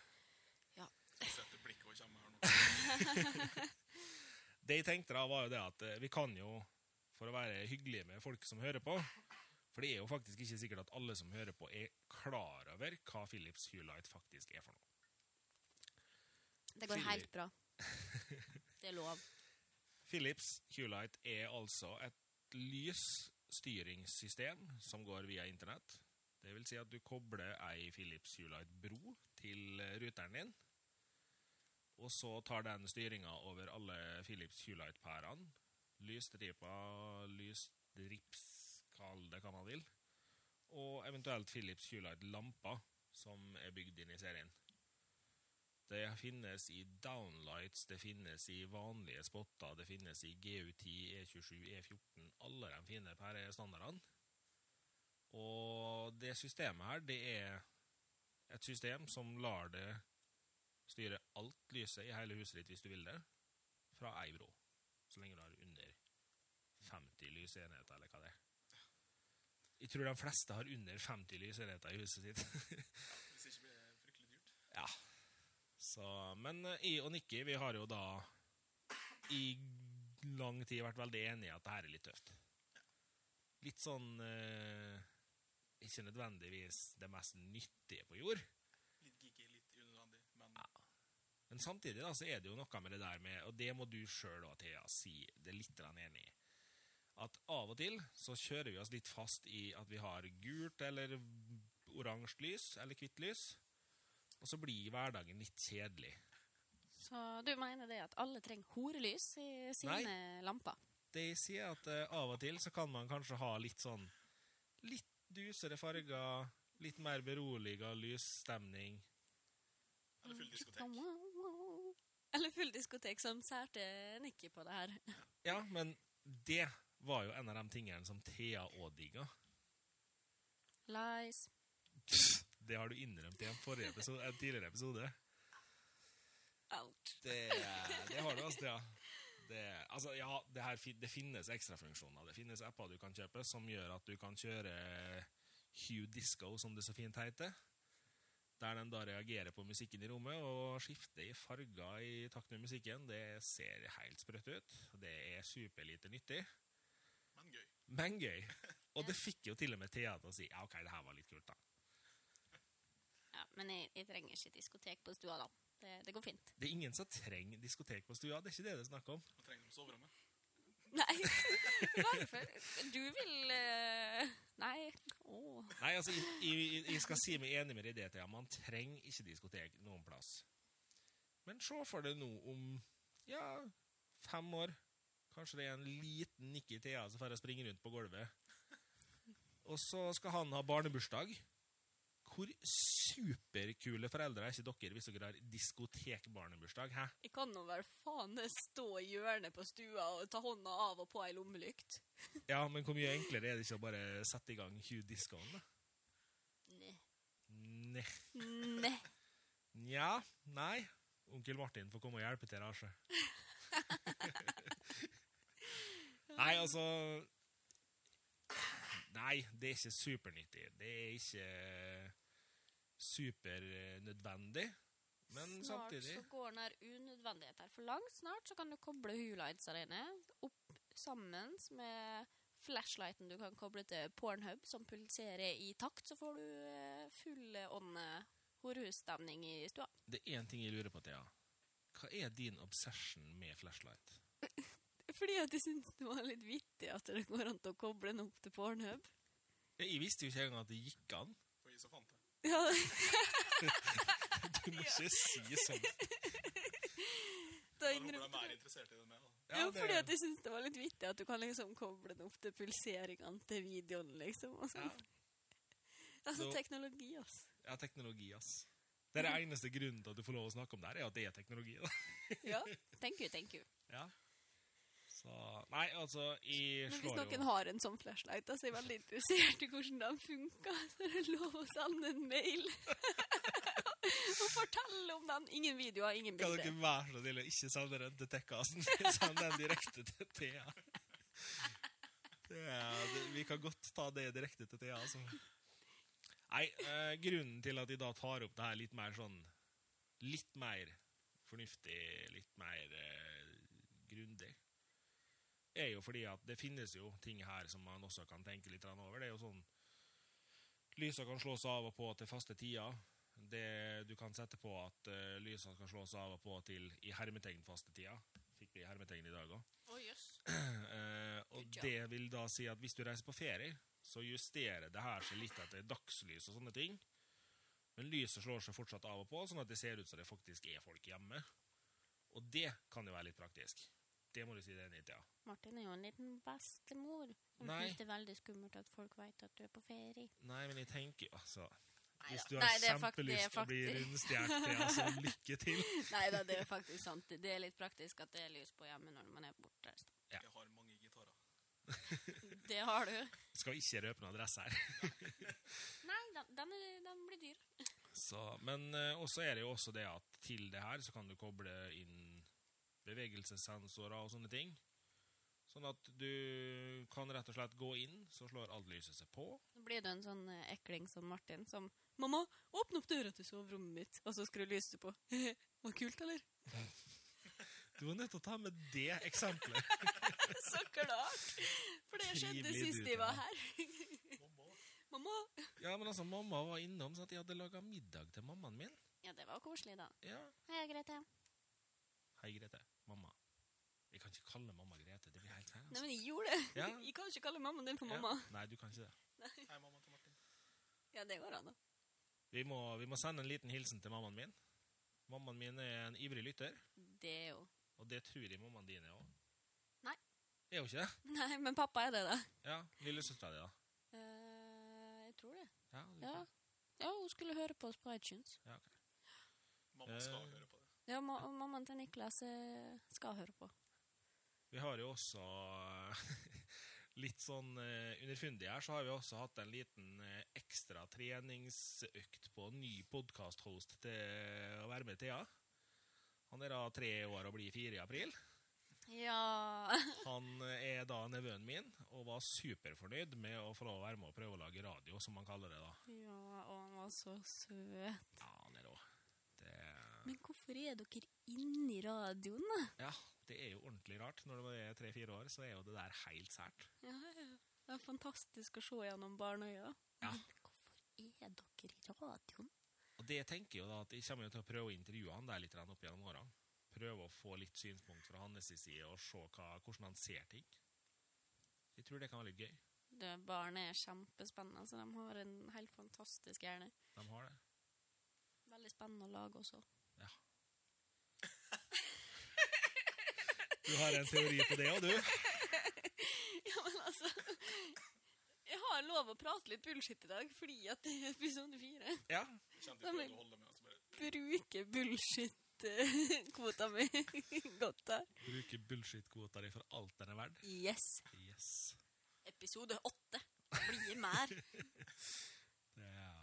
Speaker 3: Vi setter blikket og kommer her nå.
Speaker 2: Det jeg tenkte da, var jo det at eh, vi kan jo, for å være hyggelige med folk som hører på For det er jo faktisk ikke sikkert at alle som hører på, er klar over hva Philips Hulight faktisk er for noe.
Speaker 1: Det går
Speaker 2: Fyller.
Speaker 1: helt bra. Det er lov.
Speaker 2: Philips Hulight er altså et lysstyringssystem som går via internett. Det vil si at du kobler ei Philips Hulight-bro til eh, ruteren din. Og så tar den styringa over alle Philips Hulight-pærene. Lysstripa, lysdrips, kall det hva man vil. Og eventuelt Philips Hulight-lamper som er bygd inn i serien. Det finnes i downlights, det finnes i vanlige spotter, det finnes i GU10, E27, E14, E alle de fine pærestandardene. Og det systemet her, det er et system som lar det styre alt lyset i hele huset ditt hvis du vil det, fra ei brå. Så lenge du har under 50 lysenheter, eller hva det er. Jeg tror de fleste har under 50 lysenheter i huset sitt.
Speaker 3: Hvis ikke blir det fryktelig dyrt.
Speaker 2: Ja. Så, men eh, jeg og Nikki vi har jo da i lang tid vært veldig enige at det her er litt tøft. Litt sånn eh, Ikke nødvendigvis det mest nyttige på jord.
Speaker 3: Litt geeky, litt unødvendig, men
Speaker 2: Men samtidig da, så er det jo noe med det der med, og det må du sjøl og Thea si det er litt grann enig i, at av og til så kjører vi oss litt fast i at vi har gult eller oransje lys, eller hvitt lys, og så blir hverdagen litt kjedelig.
Speaker 1: Så du mener det at alle trenger horelys i sine lamper?
Speaker 2: det jeg sier, er at eh, av og til så kan man kanskje ha litt sånn Litt dusere farger, litt mer beroliga lysstemning.
Speaker 3: er det full diskotek?
Speaker 1: Eller full diskotek som særte Nikki på det her.
Speaker 2: Ja, men det var jo en av de tingene som Thea òg digga.
Speaker 1: Lies.
Speaker 2: Det har du innrømt i en, forrige episode, en tidligere episode.
Speaker 1: Out.
Speaker 2: Det, det har du, altså, Thea. Det, altså, ja, det, her, fin- det finnes ekstrafunksjoner. Det finnes apper du kan kjøpe som gjør at du kan kjøre Hue Disco, som det så fint heter. Der den da reagerer på musikken i rommet og skifter i farger i takt med musikken. Det ser helt sprøtt ut. Det er superlite nyttig,
Speaker 3: Men gøy.
Speaker 2: men gøy. Og det fikk jo til og med Thea til å si ja, ok, det her var litt kult, da.
Speaker 1: Ja, men jeg, jeg trenger ikke diskotek på stua, da. Det, det går fint.
Speaker 2: Det er ingen som trenger diskotek på stua. Det er ikke det det er snakk om.
Speaker 3: Man trenger det på soverommet.
Speaker 1: Nei. Hvorfor? Du vil eh, Nei. Åh.
Speaker 2: Nei, altså, jeg, jeg, jeg skal si meg enig med deg i det, Thea. Man trenger ikke diskotek noen plass. Men se for deg nå om ja, fem år. Kanskje det er en liten Nikki Thea som får springe rundt på gulvet. Og så skal han ha barnebursdag. Hvor superkule foreldre er ikke dere hvis dere har diskotekbarnebursdag? Hæ?
Speaker 1: Jeg kan nå vel faen stå i hjørnet på stua og ta hånda av og på ei lommelykt.
Speaker 2: Ja, men hvor mye enklere er det ikke å bare sette i gang Hugh Discoen, da?
Speaker 1: Nei.
Speaker 2: Nei.
Speaker 1: Nei.
Speaker 2: Nja, nei. Onkel Martin får komme og hjelpe til, altså. Rasje. nei, altså Nei, det er ikke supernyttig. Det er ikke supernødvendig. Men
Speaker 1: snart
Speaker 2: samtidig
Speaker 1: så går den her unødvendighet her for langt. Snart så kan du koble hulightsa dine opp sammen med flashlighten du kan koble til Pornhub, som pulserer i takt, så får du eh, full eh, ånde horehusstemning i stua.
Speaker 2: Det er én ting jeg lurer på, Thea. Hva er din obsession med flashlight?
Speaker 1: Fordi at jeg syns det var litt vittig at det går an til å koble den opp til Pornhub.
Speaker 2: Jeg visste jo ikke engang at det gikk an.
Speaker 3: For jeg som fant det.
Speaker 1: Ja,
Speaker 2: Du må ikke si sånn. sånt.
Speaker 1: da
Speaker 3: Jeg håper
Speaker 1: innrømte
Speaker 3: de
Speaker 1: jeg.
Speaker 3: er interessert i det mer. da.
Speaker 1: Ja,
Speaker 2: det-
Speaker 1: fordi at jeg syns det var litt vittig at du kan liksom koble den opp til pulseringene til videoen, liksom. Og sånn.
Speaker 2: ja.
Speaker 1: Altså
Speaker 2: Så-
Speaker 1: teknologi, altså.
Speaker 2: Ja, teknologi, ass. Det er
Speaker 1: Mm.
Speaker 2: den eneste grunnen til at du får lov å snakke om det her, er at det er teknologi. da.
Speaker 1: Ja. Thank you, thank you.
Speaker 2: Ja. Så, nei, altså, jeg
Speaker 1: Men hvis
Speaker 2: slår
Speaker 1: noen
Speaker 2: jo
Speaker 1: har en sånn flashlight, da, så er jeg veldig interessert i hvordan den funker, så er det lov å sende en mail og fortelle om den. Ingen videoer, ingen
Speaker 2: Kan
Speaker 1: bilder.
Speaker 2: dere være så snill å ikke sende den til Tekkasen? Send den direkte til Thea. Det er, det, vi kan godt ta det direkte til Thea, altså. Nei, eh, grunnen til at jeg da tar opp det her litt mer sånn Litt mer fornuftig, litt mer eh, grundig, er jo fordi at det finnes jo ting her som man også kan tenke litt grann over. Det er jo sånn Lysa kan slås av og på til faste tider. Det du kan sette på at eh, lysene skal slås av og på til i hermetegn faste tida. Fikk vi i hermetegn i dag òg.
Speaker 1: Å, jøss. Good
Speaker 2: og
Speaker 1: job.
Speaker 2: det vil da si at hvis du reiser på ferie, så justerer det her seg litt etter dagslys og sånne ting. Men lyset slår seg fortsatt av og på, sånn at det ser ut som det faktisk er folk hjemme. Og det kan jo være litt praktisk. Det må du si deg enig i, Thea.
Speaker 1: Martin er jo en liten bestemor. Hun
Speaker 2: Nei.
Speaker 1: synes det er veldig skummelt at folk vet at du er på ferie.
Speaker 2: Nei, men jeg tenker altså Hvis
Speaker 1: Neida.
Speaker 2: du har
Speaker 1: Nei, det er fakt- det er
Speaker 2: kjempelyst til å bli
Speaker 1: fakti-
Speaker 2: rundstjålet, Thea, så lykke til.
Speaker 1: Nei da, det er faktisk sant. Det er litt praktisk at det er lys på hjemme når man er bortreist.
Speaker 2: Ja.
Speaker 3: Jeg har mange gitarer.
Speaker 1: Det har du.
Speaker 2: Skal ikke røpe noen adresse her.
Speaker 1: Nei, den, den, er, den blir dyr.
Speaker 2: Så, men eh, også er det jo også det at til det her så kan du koble inn bevegelsessensorer og sånne ting. Sånn at du kan rett og slett gå inn, så slår alt lyset seg på.
Speaker 1: Nå blir du en sånn eh, ekling som Martin som Mamma, åpne opp døra til soverommet mitt, og så skrur lyset på. Var kult, eller?
Speaker 2: Du var nødt til å ta med det eksempelet.
Speaker 1: Så klart! For det skjedde
Speaker 2: Trivelig
Speaker 1: sist
Speaker 2: du,
Speaker 1: de var
Speaker 2: Thea.
Speaker 1: her.
Speaker 3: Mamma.
Speaker 1: Mamma!
Speaker 2: Ja, men altså, mamma var innom, så at jeg hadde laga middag til mammaen min.
Speaker 1: Ja, det var koselig, da.
Speaker 2: Ja.
Speaker 1: Hei, Grete.
Speaker 2: Hei, Grete. Mamma. Jeg kan ikke kalle mamma Grete. Det blir helt feil.
Speaker 1: Nei, men jeg gjorde det.
Speaker 2: Ja.
Speaker 1: Jeg kan ikke kalle mammaen din for
Speaker 2: Ja.
Speaker 1: mamma.
Speaker 2: Nei, du kan ikke det.
Speaker 3: Hei, mamma til Martin.
Speaker 1: Ja, det går an, da.
Speaker 2: Vi må, vi må sende en liten hilsen til mammaen min. Mammaen min er en ivrig lytter,
Speaker 1: Det er jo
Speaker 2: og det tror jeg mammaen din er òg.
Speaker 1: Nei.
Speaker 2: Er hun ikke det?
Speaker 1: Nei, men pappa er det, da.
Speaker 2: Ja, lillesøstera di, da.
Speaker 1: Eh, jeg tror det.
Speaker 2: Ja, du-
Speaker 1: Ja. ja, hun skulle høre på oss på iTunes.
Speaker 2: ja, ok.
Speaker 3: Mamma skal
Speaker 2: Eh.
Speaker 3: høre på det.
Speaker 1: Ja, ma og mammaen til Niklas eh, skal høre på.
Speaker 2: Vi har jo også eh, Litt sånn eh, underfundig her, så har vi også hatt en liten eh, ekstra treningsøkt på ny podkast-host til å være med Thea. Han er da tre år og blir fire i april.
Speaker 1: Ja.
Speaker 2: Han eh, er da nevøen min, og var superfornøyd med å få lov å være med og prøve å lage radio, som han kaller det da.
Speaker 1: Ja, og han var så søt.
Speaker 2: Ja, han er rå. Det,
Speaker 1: Men hvorfor er dere inni radioen, da?
Speaker 2: ja, det er jo ordentlig rart. Når du er tre-fire år, så er jo det der helt sært.
Speaker 1: Ja, ja. Det er fantastisk å se gjennom barneøya.
Speaker 2: Ja.
Speaker 1: Men hvorfor er dere i radioen?
Speaker 2: Og det tenker jeg jo da at jeg kommer jo til å prøve å intervjue han der litt grann opp gjennom årene. Prøve å få litt synspunkt fra hans side, og se hva, hvordan han ser ting. Jeg tror det kan være litt gøy.
Speaker 1: Det, barn er kjempespennende, så de har en helt fantastisk hjerne.
Speaker 2: De har det.
Speaker 1: Veldig spennende å lage også.
Speaker 2: Du har en teori på det òg, du?
Speaker 1: Ja, men altså... Jeg har lov å prate litt bullshit i dag, fordi at det er episode fire.
Speaker 2: Ja.
Speaker 3: Jeg kjente ikke prøvde å holde med, så bare
Speaker 1: Bruke bullshit-kvota mi godt der.
Speaker 2: Bruker bullshit-kvota di for alt den er verd.
Speaker 1: Yes.
Speaker 2: Yes.
Speaker 1: Episode åtte. Det blir mer.
Speaker 2: Det er...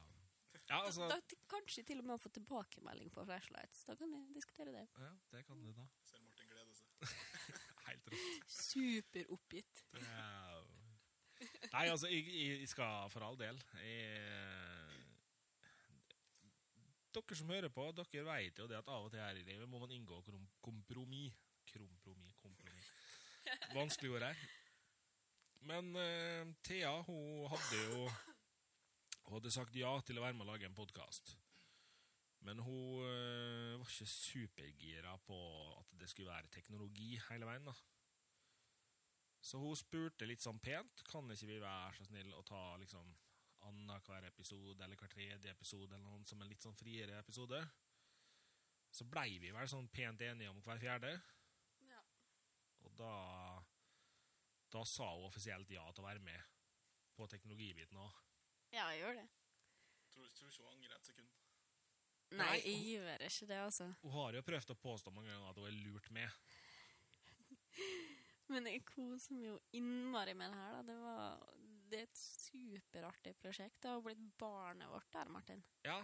Speaker 2: Ja, altså
Speaker 1: da, da, kanskje til og med å få tilbakemelding på flashlights. Da kan vi diskutere det.
Speaker 2: ja, Det kan du, da.
Speaker 3: ser Martin glede seg.
Speaker 2: Helt rått.
Speaker 1: Superoppgitt.
Speaker 2: Det er... Nei, altså, jeg, jeg skal for all del jeg... Dere som hører på, dere vet jo det at av og til her i livet må man inngå krom kompromiss. Kompromiss, kompromiss. Vanskelig ord her. Men eh, Thea, hun hadde jo Hun hadde sagt ja til å være med og lage en podkast. Men hun eh, var ikke supergira på at det skulle være teknologi hele veien, da. Så hun spurte litt sånn pent Kan ikke vi være så snill å ta liksom annenhver episode eller hver tredje episode eller noe som en litt sånn friere episode? Så blei vi vel sånn pent enige om hver fjerde.
Speaker 1: Ja.
Speaker 2: Og da Da sa hun offisielt ja til å være med på teknologibiten òg.
Speaker 1: Ja, jeg gjør det.
Speaker 3: Tror, tror ikke hun angrer et sekund.
Speaker 1: Nei,
Speaker 2: Nei.
Speaker 1: jeg gjør ikke det, altså.
Speaker 2: Hun har jo prøvd å påstå mange ganger at hun er lurt med.
Speaker 1: Men jeg koser meg jo innmari med det her, da. Det, var, det er et superartig prosjekt. Det har blitt barnet vårt der, Martin.
Speaker 2: Ja,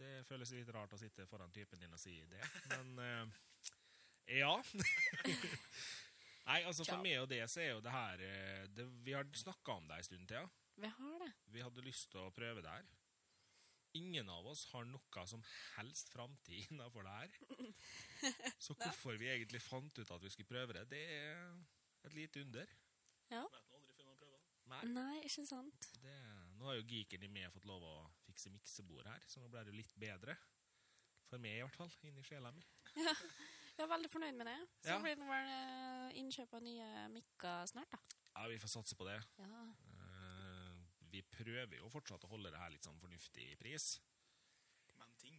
Speaker 2: det føles litt rart å sitte foran typen din og si det, men eh, ja. Nei, altså
Speaker 1: Ciao.
Speaker 2: for meg og det så er jo det her eh, det, Vi har snakka om det en stund, Thea.
Speaker 1: Vi har det.
Speaker 2: Vi hadde lyst til å prøve det her. Ingen av oss har noe som helst framtid innafor det her. Så hvorfor vi egentlig fant ut at vi skulle prøve det, det er et lite under.
Speaker 3: Vet nå aldri før man prøver. da.
Speaker 2: Nei.
Speaker 1: Nei, ikke sant?
Speaker 2: Det, nå har jo geeken i meg fått lov å fikse miksebord her, så nå ble det jo litt bedre. For meg, i hvert fall. Inni sjela mi.
Speaker 1: Jeg er veldig fornøyd med det. Så
Speaker 2: Ja.
Speaker 1: blir det vel eh, innkjøp av nye mikker snart, da.
Speaker 2: Ja, vi får satse på det.
Speaker 1: Ja.
Speaker 2: Eh, vi prøver jo fortsatt å holde det her litt sånn fornuftig pris.
Speaker 3: Men ting.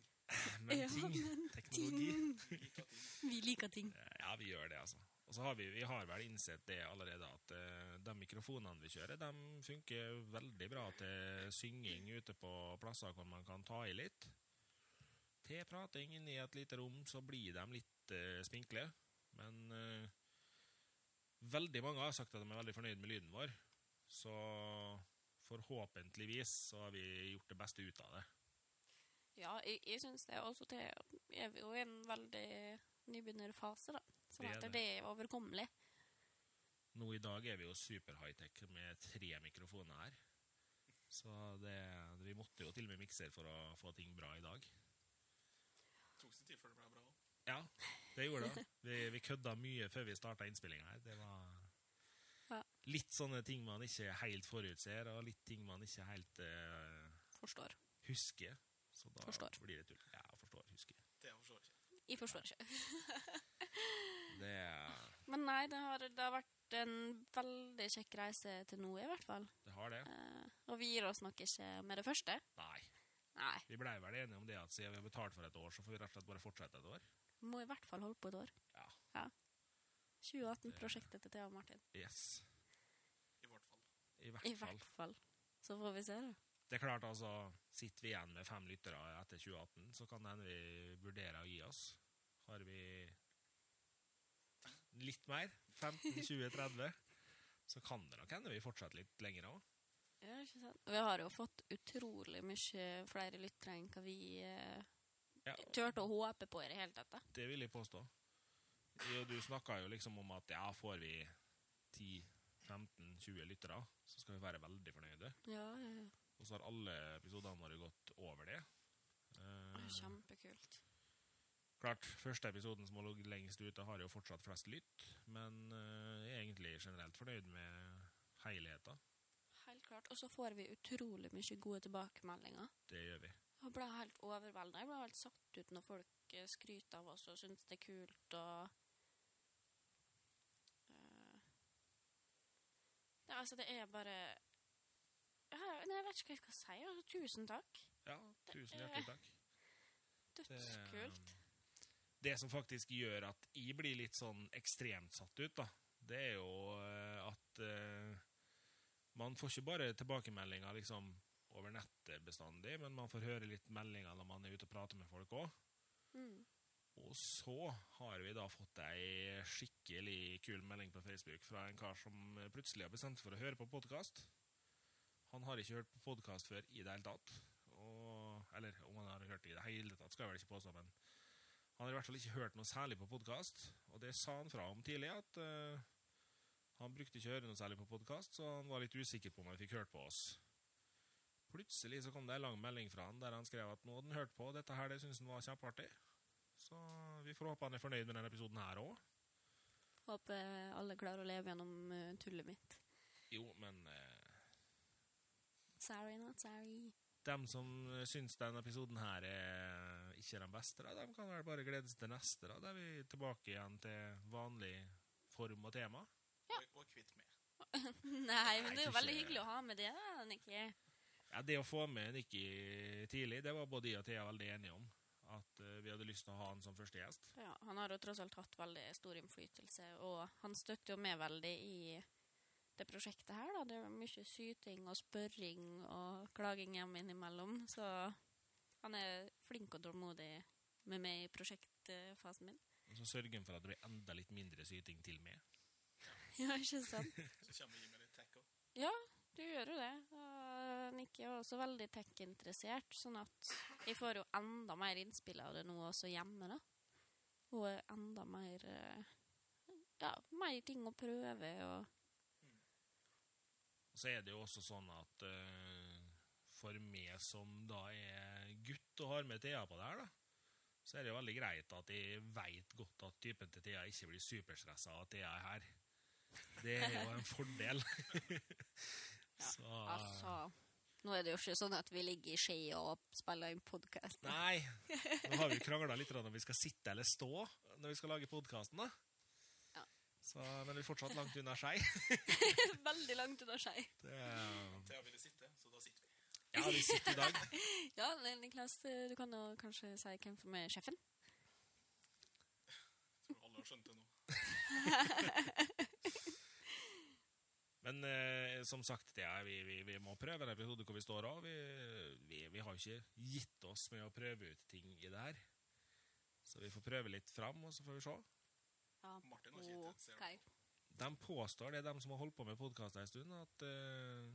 Speaker 2: Men
Speaker 1: Ja,
Speaker 2: ting, teknologi
Speaker 3: Like ting.
Speaker 1: Vi liker ting.
Speaker 2: Eh, Ja, vi gjør det, altså. Og så har vi, vi har vel innsett det allerede at eh, de mikrofonene vi kjører, de funker veldig bra til synging ute på plasser hvor man kan ta i litt. Til prating inne i et lite rom, så blir de litt eh, spinkle. Men eh, veldig mange har sagt at de er veldig fornøyd med lyden vår. Så forhåpentligvis så har vi gjort det beste ut av det.
Speaker 1: Ja, jeg, jeg syns det. Også det er vi jo i en veldig nybegynnerfase, da. Så
Speaker 2: Det er
Speaker 1: det er, det er overkommelig.
Speaker 2: Nå i dag er vi jo super high-tech med tre mikrofoner her. Så det, vi måtte jo til og med mikser for å få ting bra i dag.
Speaker 3: Tok sin tid før det ble bra òg.
Speaker 2: Ja, det gjorde det. Vi, vi kødda mye før vi starta innspillinga her. Det var
Speaker 1: Ja.
Speaker 2: litt sånne ting man ikke helt forutser, og litt ting man ikke helt eh,
Speaker 1: Forstår.
Speaker 2: husker. Så da
Speaker 1: Forstår.
Speaker 2: blir det tull. Ja, forstår, husker.
Speaker 3: Det jeg forstår ikke.
Speaker 1: Jeg forstår ikke.
Speaker 2: Det er-
Speaker 1: Men nei, det har, det har vært en veldig kjekk reise til nå, i hvert fall.
Speaker 2: det har det.
Speaker 1: Eh, og vi gir oss nok ikke med det første.
Speaker 2: Nei.
Speaker 1: Nei.
Speaker 2: Vi blei vel enige om det at siden vi har betalt for et år, så får vi rett og slett bare fortsette et år.
Speaker 1: Må i hvert fall holde på et år.
Speaker 2: Ja.
Speaker 1: 2018-prosjektet til Thea og Martin.
Speaker 2: Yes.
Speaker 3: I hvert fall.
Speaker 2: I hvert,
Speaker 1: I
Speaker 2: fall.
Speaker 1: hvert fall. Så får vi se, da.
Speaker 2: Det er klart, altså, sitter vi igjen med fem lyttere etter 2018, så kan det hende vi vurderer å gi oss. Har vi litt mer, 15-20-30, så kan det nok hende vi fortsetter litt lenger òg.
Speaker 1: Ja, ikke sant? Vi har jo fått utrolig mye flere lyttere enn hva vi eh,
Speaker 2: Ja.
Speaker 1: turte å håpe på i det hele tatt. da.
Speaker 2: Det vil jeg påstå. Jeg og du snakka jo liksom om at ja, får vi 10-15-20 lyttere, så skal vi være veldig fornøyde.
Speaker 1: Ja, ja, ja.
Speaker 2: Og så har alle episodene våre gått over det. Eh,
Speaker 1: Det er Kjempekult.
Speaker 2: klart, første episoden som har ligget lengst ute, har jo fortsatt flest lytt, men eh, jeg er egentlig generelt fornøyd med helheten.
Speaker 1: Helt klart. Og så får vi utrolig mye gode tilbakemeldinger.
Speaker 2: Det gjør vi.
Speaker 1: Jeg ble helt overveldet. Jeg ble helt satt ut når folk eh, skryter av oss og syns det er kult og Eh, Ja, altså, det er bare ja, nei, Jeg vet ikke hva jeg skal si. Altså, tusen takk.
Speaker 2: Ja, tusen hjertelig takk. eh,
Speaker 1: Dødskult.
Speaker 2: det som faktisk gjør at jeg blir litt sånn ekstremt satt ut, da, det er jo eh, at eh, man får ikke bare tilbakemeldinger liksom over nettet bestandig, men man får høre litt meldinger når man er ute og prater med folk òg.
Speaker 1: Mm.
Speaker 2: Og så har vi da fått ei skikkelig kul melding på Facebook fra en kar som plutselig har bestemt seg for å høre på podkast. Han har ikke hørt på podkast før i det hele tatt. Og, eller om han har hørt det i det hele tatt, skal jeg vel ikke påstå, men han har i hvert fall ikke hørt noe særlig på podkast. Og det sa han fra om tidlig, at eh, han brukte ikke å høre noe særlig på podkast, så han var litt usikker på om han fikk hørt på oss. Plutselig så kom det ei lang melding fra han der han skrev at nå hadde han hørt på, og dette her det syntes han var kjempeartig. Så vi får håpe han er fornøyd med denne episoden her òg.
Speaker 1: Håper alle klarer å leve gjennom eh, tullet mitt.
Speaker 2: Jo, men eh,
Speaker 1: Sorry, not sorry.
Speaker 2: dem som syns denne episoden her er ikke den beste, da, dem kan vel bare glede seg til neste. Da Da er vi tilbake igjen til vanlig form og tema.
Speaker 3: Og, og kvitt meg.
Speaker 1: Nei, men det er jo
Speaker 2: Nei,
Speaker 1: veldig
Speaker 2: ikke-
Speaker 1: hyggelig å ha med det, da, Nikki.
Speaker 2: Ja, Det å få med Nikki tidlig, det var både jeg og Thea veldig enige om. At eh, vi hadde lyst til å ha han som første gjest.
Speaker 1: Ja, han har jo tross alt hatt veldig stor innflytelse, og han støtter jo meg veldig i det prosjektet her, da. Det er mye syting og spørring og klaging hjemme innimellom, så han er flink og tålmodig med meg i prosjektfasen min.
Speaker 2: Og så sørger han for at det blir enda litt mindre syting til meg.
Speaker 1: Ja, ikke sant?
Speaker 3: Så kommer jeg med litt tech òg.
Speaker 1: Du gjør jo det. Og Nikki er også veldig tech-interessert, sånn at jeg får jo enda mer innspill av det nå også hjemme, da. Og enda mer eh, Ja, mer ting å prøve og
Speaker 2: Og så er det jo også sånn at eh, for meg som da er gutt og har med Thea på det her, da, så er det jo veldig greit at jeg veit godt at typen til Thea ikke blir superstressa av at Thea er her. Det er jo en fordel. så
Speaker 1: Altså
Speaker 2: Ah.
Speaker 1: Nå er det jo ikke sånn at vi ligger i skjea og spiller inn podkast.
Speaker 2: Nei. Nå har vi krangla litt om vi skal sitte eller stå når vi skal lage podkasten, da.
Speaker 1: Ja.
Speaker 2: Så, men vi er fortsatt langt unna skei.
Speaker 1: Veldig langt unna skei.
Speaker 2: Det er-
Speaker 3: Thea ville sitte, så da sitter vi.
Speaker 2: Ja, vi sitter i dag.
Speaker 1: Ja, Niklas, eh, du kan jo kanskje si hvem som er sjefen?
Speaker 3: Tror alle har skjønt det nå.
Speaker 2: Men eh, som sagt, det er, vi, vi, vi må prøve en episode hvor vi står av. Vi, vi, vi har jo ikke gitt oss med å prøve ut ting i det her. Så vi får prøve litt fram, og så får vi se.
Speaker 1: Ja.
Speaker 3: Martin har ikke gitt det. Ser du.
Speaker 2: De påstår, det er de som har holdt på med podkaster en stund, at eh,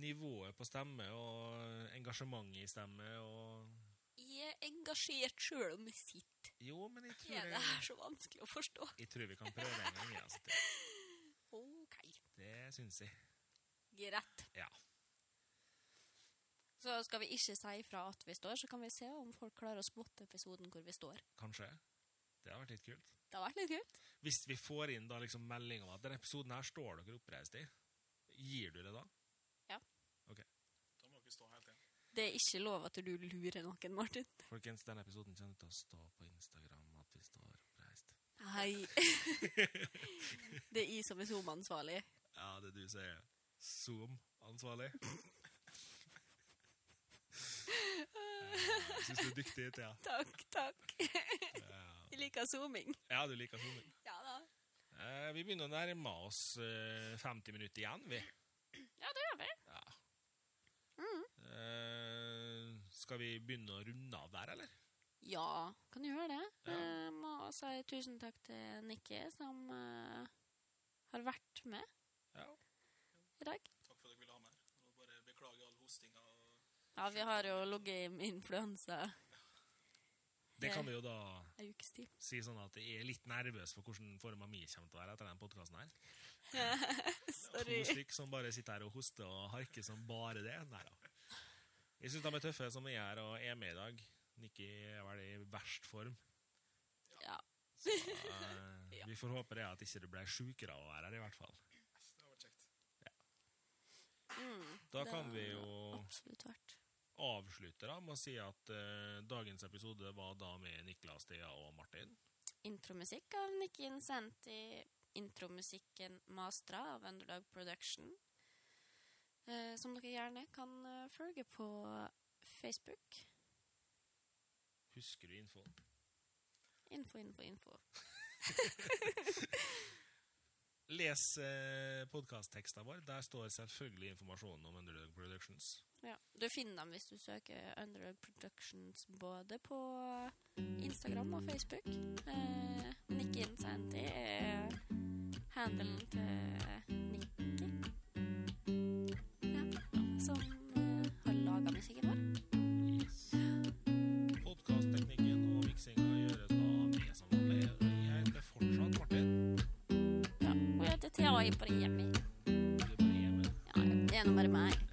Speaker 2: nivået på stemme og engasjementet i stemme og
Speaker 1: Jeg er engasjert sjøl om jeg sitter.
Speaker 2: Jo, men jeg tror,
Speaker 1: Er det
Speaker 2: jeg,
Speaker 1: her så vanskelig å forstå?
Speaker 2: jeg tror vi kan prøve en gang. Altså. Det,
Speaker 1: OK,
Speaker 2: det syns jeg.
Speaker 1: greit.
Speaker 2: Ja.
Speaker 1: Så skal vi ikke si fra at vi står, så kan vi se om folk klarer å spotte episoden hvor vi står.
Speaker 2: Kanskje. Det har vært litt kult.
Speaker 1: Det har vært litt kult.
Speaker 2: Hvis vi får inn da liksom melding om at denne episoden her står dere oppreist i, gir du det da?
Speaker 3: Da må dere stå helt igjen.
Speaker 1: Det er ikke lov at du lurer noen, Martin.
Speaker 2: Folkens, denne episoden kommer til å stå på Instagram at vi står oppreist.
Speaker 1: Nei. det er jeg som er SoMe-ansvarlig.
Speaker 2: Ja, det du sier. Zoom-ansvarlig. Jeg syns du er dyktig, Thea.
Speaker 1: Takk, takk. Jeg liker zooming.
Speaker 2: Ja, du liker zooming.
Speaker 1: Ja da.
Speaker 2: Eh, vi begynner å nærme oss eh, 50 minutter igjen, vi.
Speaker 1: Ja, det gjør vi.
Speaker 2: Ja. Eh, skal vi begynne å runde av der, eller?
Speaker 1: Ja, kan du gjøre det.
Speaker 2: Ja.
Speaker 1: Jeg må si tusen takk til Nikki, som eh, har vært med
Speaker 2: Ja.
Speaker 1: i dag.
Speaker 3: Takk for at dere ville ha meg her. Og bare beklager all hostinga og
Speaker 1: Ja, vi har jo ligget i influensa.
Speaker 2: Det kan vi jo da
Speaker 1: ei ukes tid.
Speaker 2: Si sånn at jeg er litt nervøs for hvordan forma mi kommer til å være etter den podkasten her. To
Speaker 1: Sorry.
Speaker 2: stykk som bare sitter her og hoster og harker som bare det. Nei da. Jeg syns de er tøffe som er her og er med i dag. Nikki er vel i verst form.
Speaker 1: Ja.
Speaker 2: Så eh,
Speaker 1: Ja.
Speaker 2: vi får håpe det at ikke du ble sjukere av å være her, i hvert fall.
Speaker 3: Det har vært kjekt.
Speaker 1: Mm,
Speaker 2: Da
Speaker 1: det
Speaker 2: kan vi
Speaker 1: har
Speaker 2: jo
Speaker 1: Absolutt vært.
Speaker 2: avslutte da med å si at eh, dagens episode var da med Niklas, Thea og Martin.
Speaker 1: Intromusikk av Nikki Incenti. Intromusikken Mastra av Underdog Production. Eh, som dere gjerne kan eh, følge på Facebook.
Speaker 2: Husker du infoen?
Speaker 1: Info, info, info.
Speaker 2: Les eh, podkastteksten vår. Der står selvfølgelig informasjonen om Underdog Productions.
Speaker 1: Ja. Du finner dem hvis du søker Underdog Productions både på Instagram og Facebook. Eh, Nikki Incenti er eh, handelen til Nikki. Ja. Som eh, har laga musikken vår.
Speaker 2: Podkastteknikken og miksinga gjøres da med som vanlig. Jeg heter fortsatt Martin.
Speaker 1: Ja. Og jeg heter Thea Ibrahimi.
Speaker 2: Du er på hjemmet.
Speaker 1: Ja, det er nå bare meg.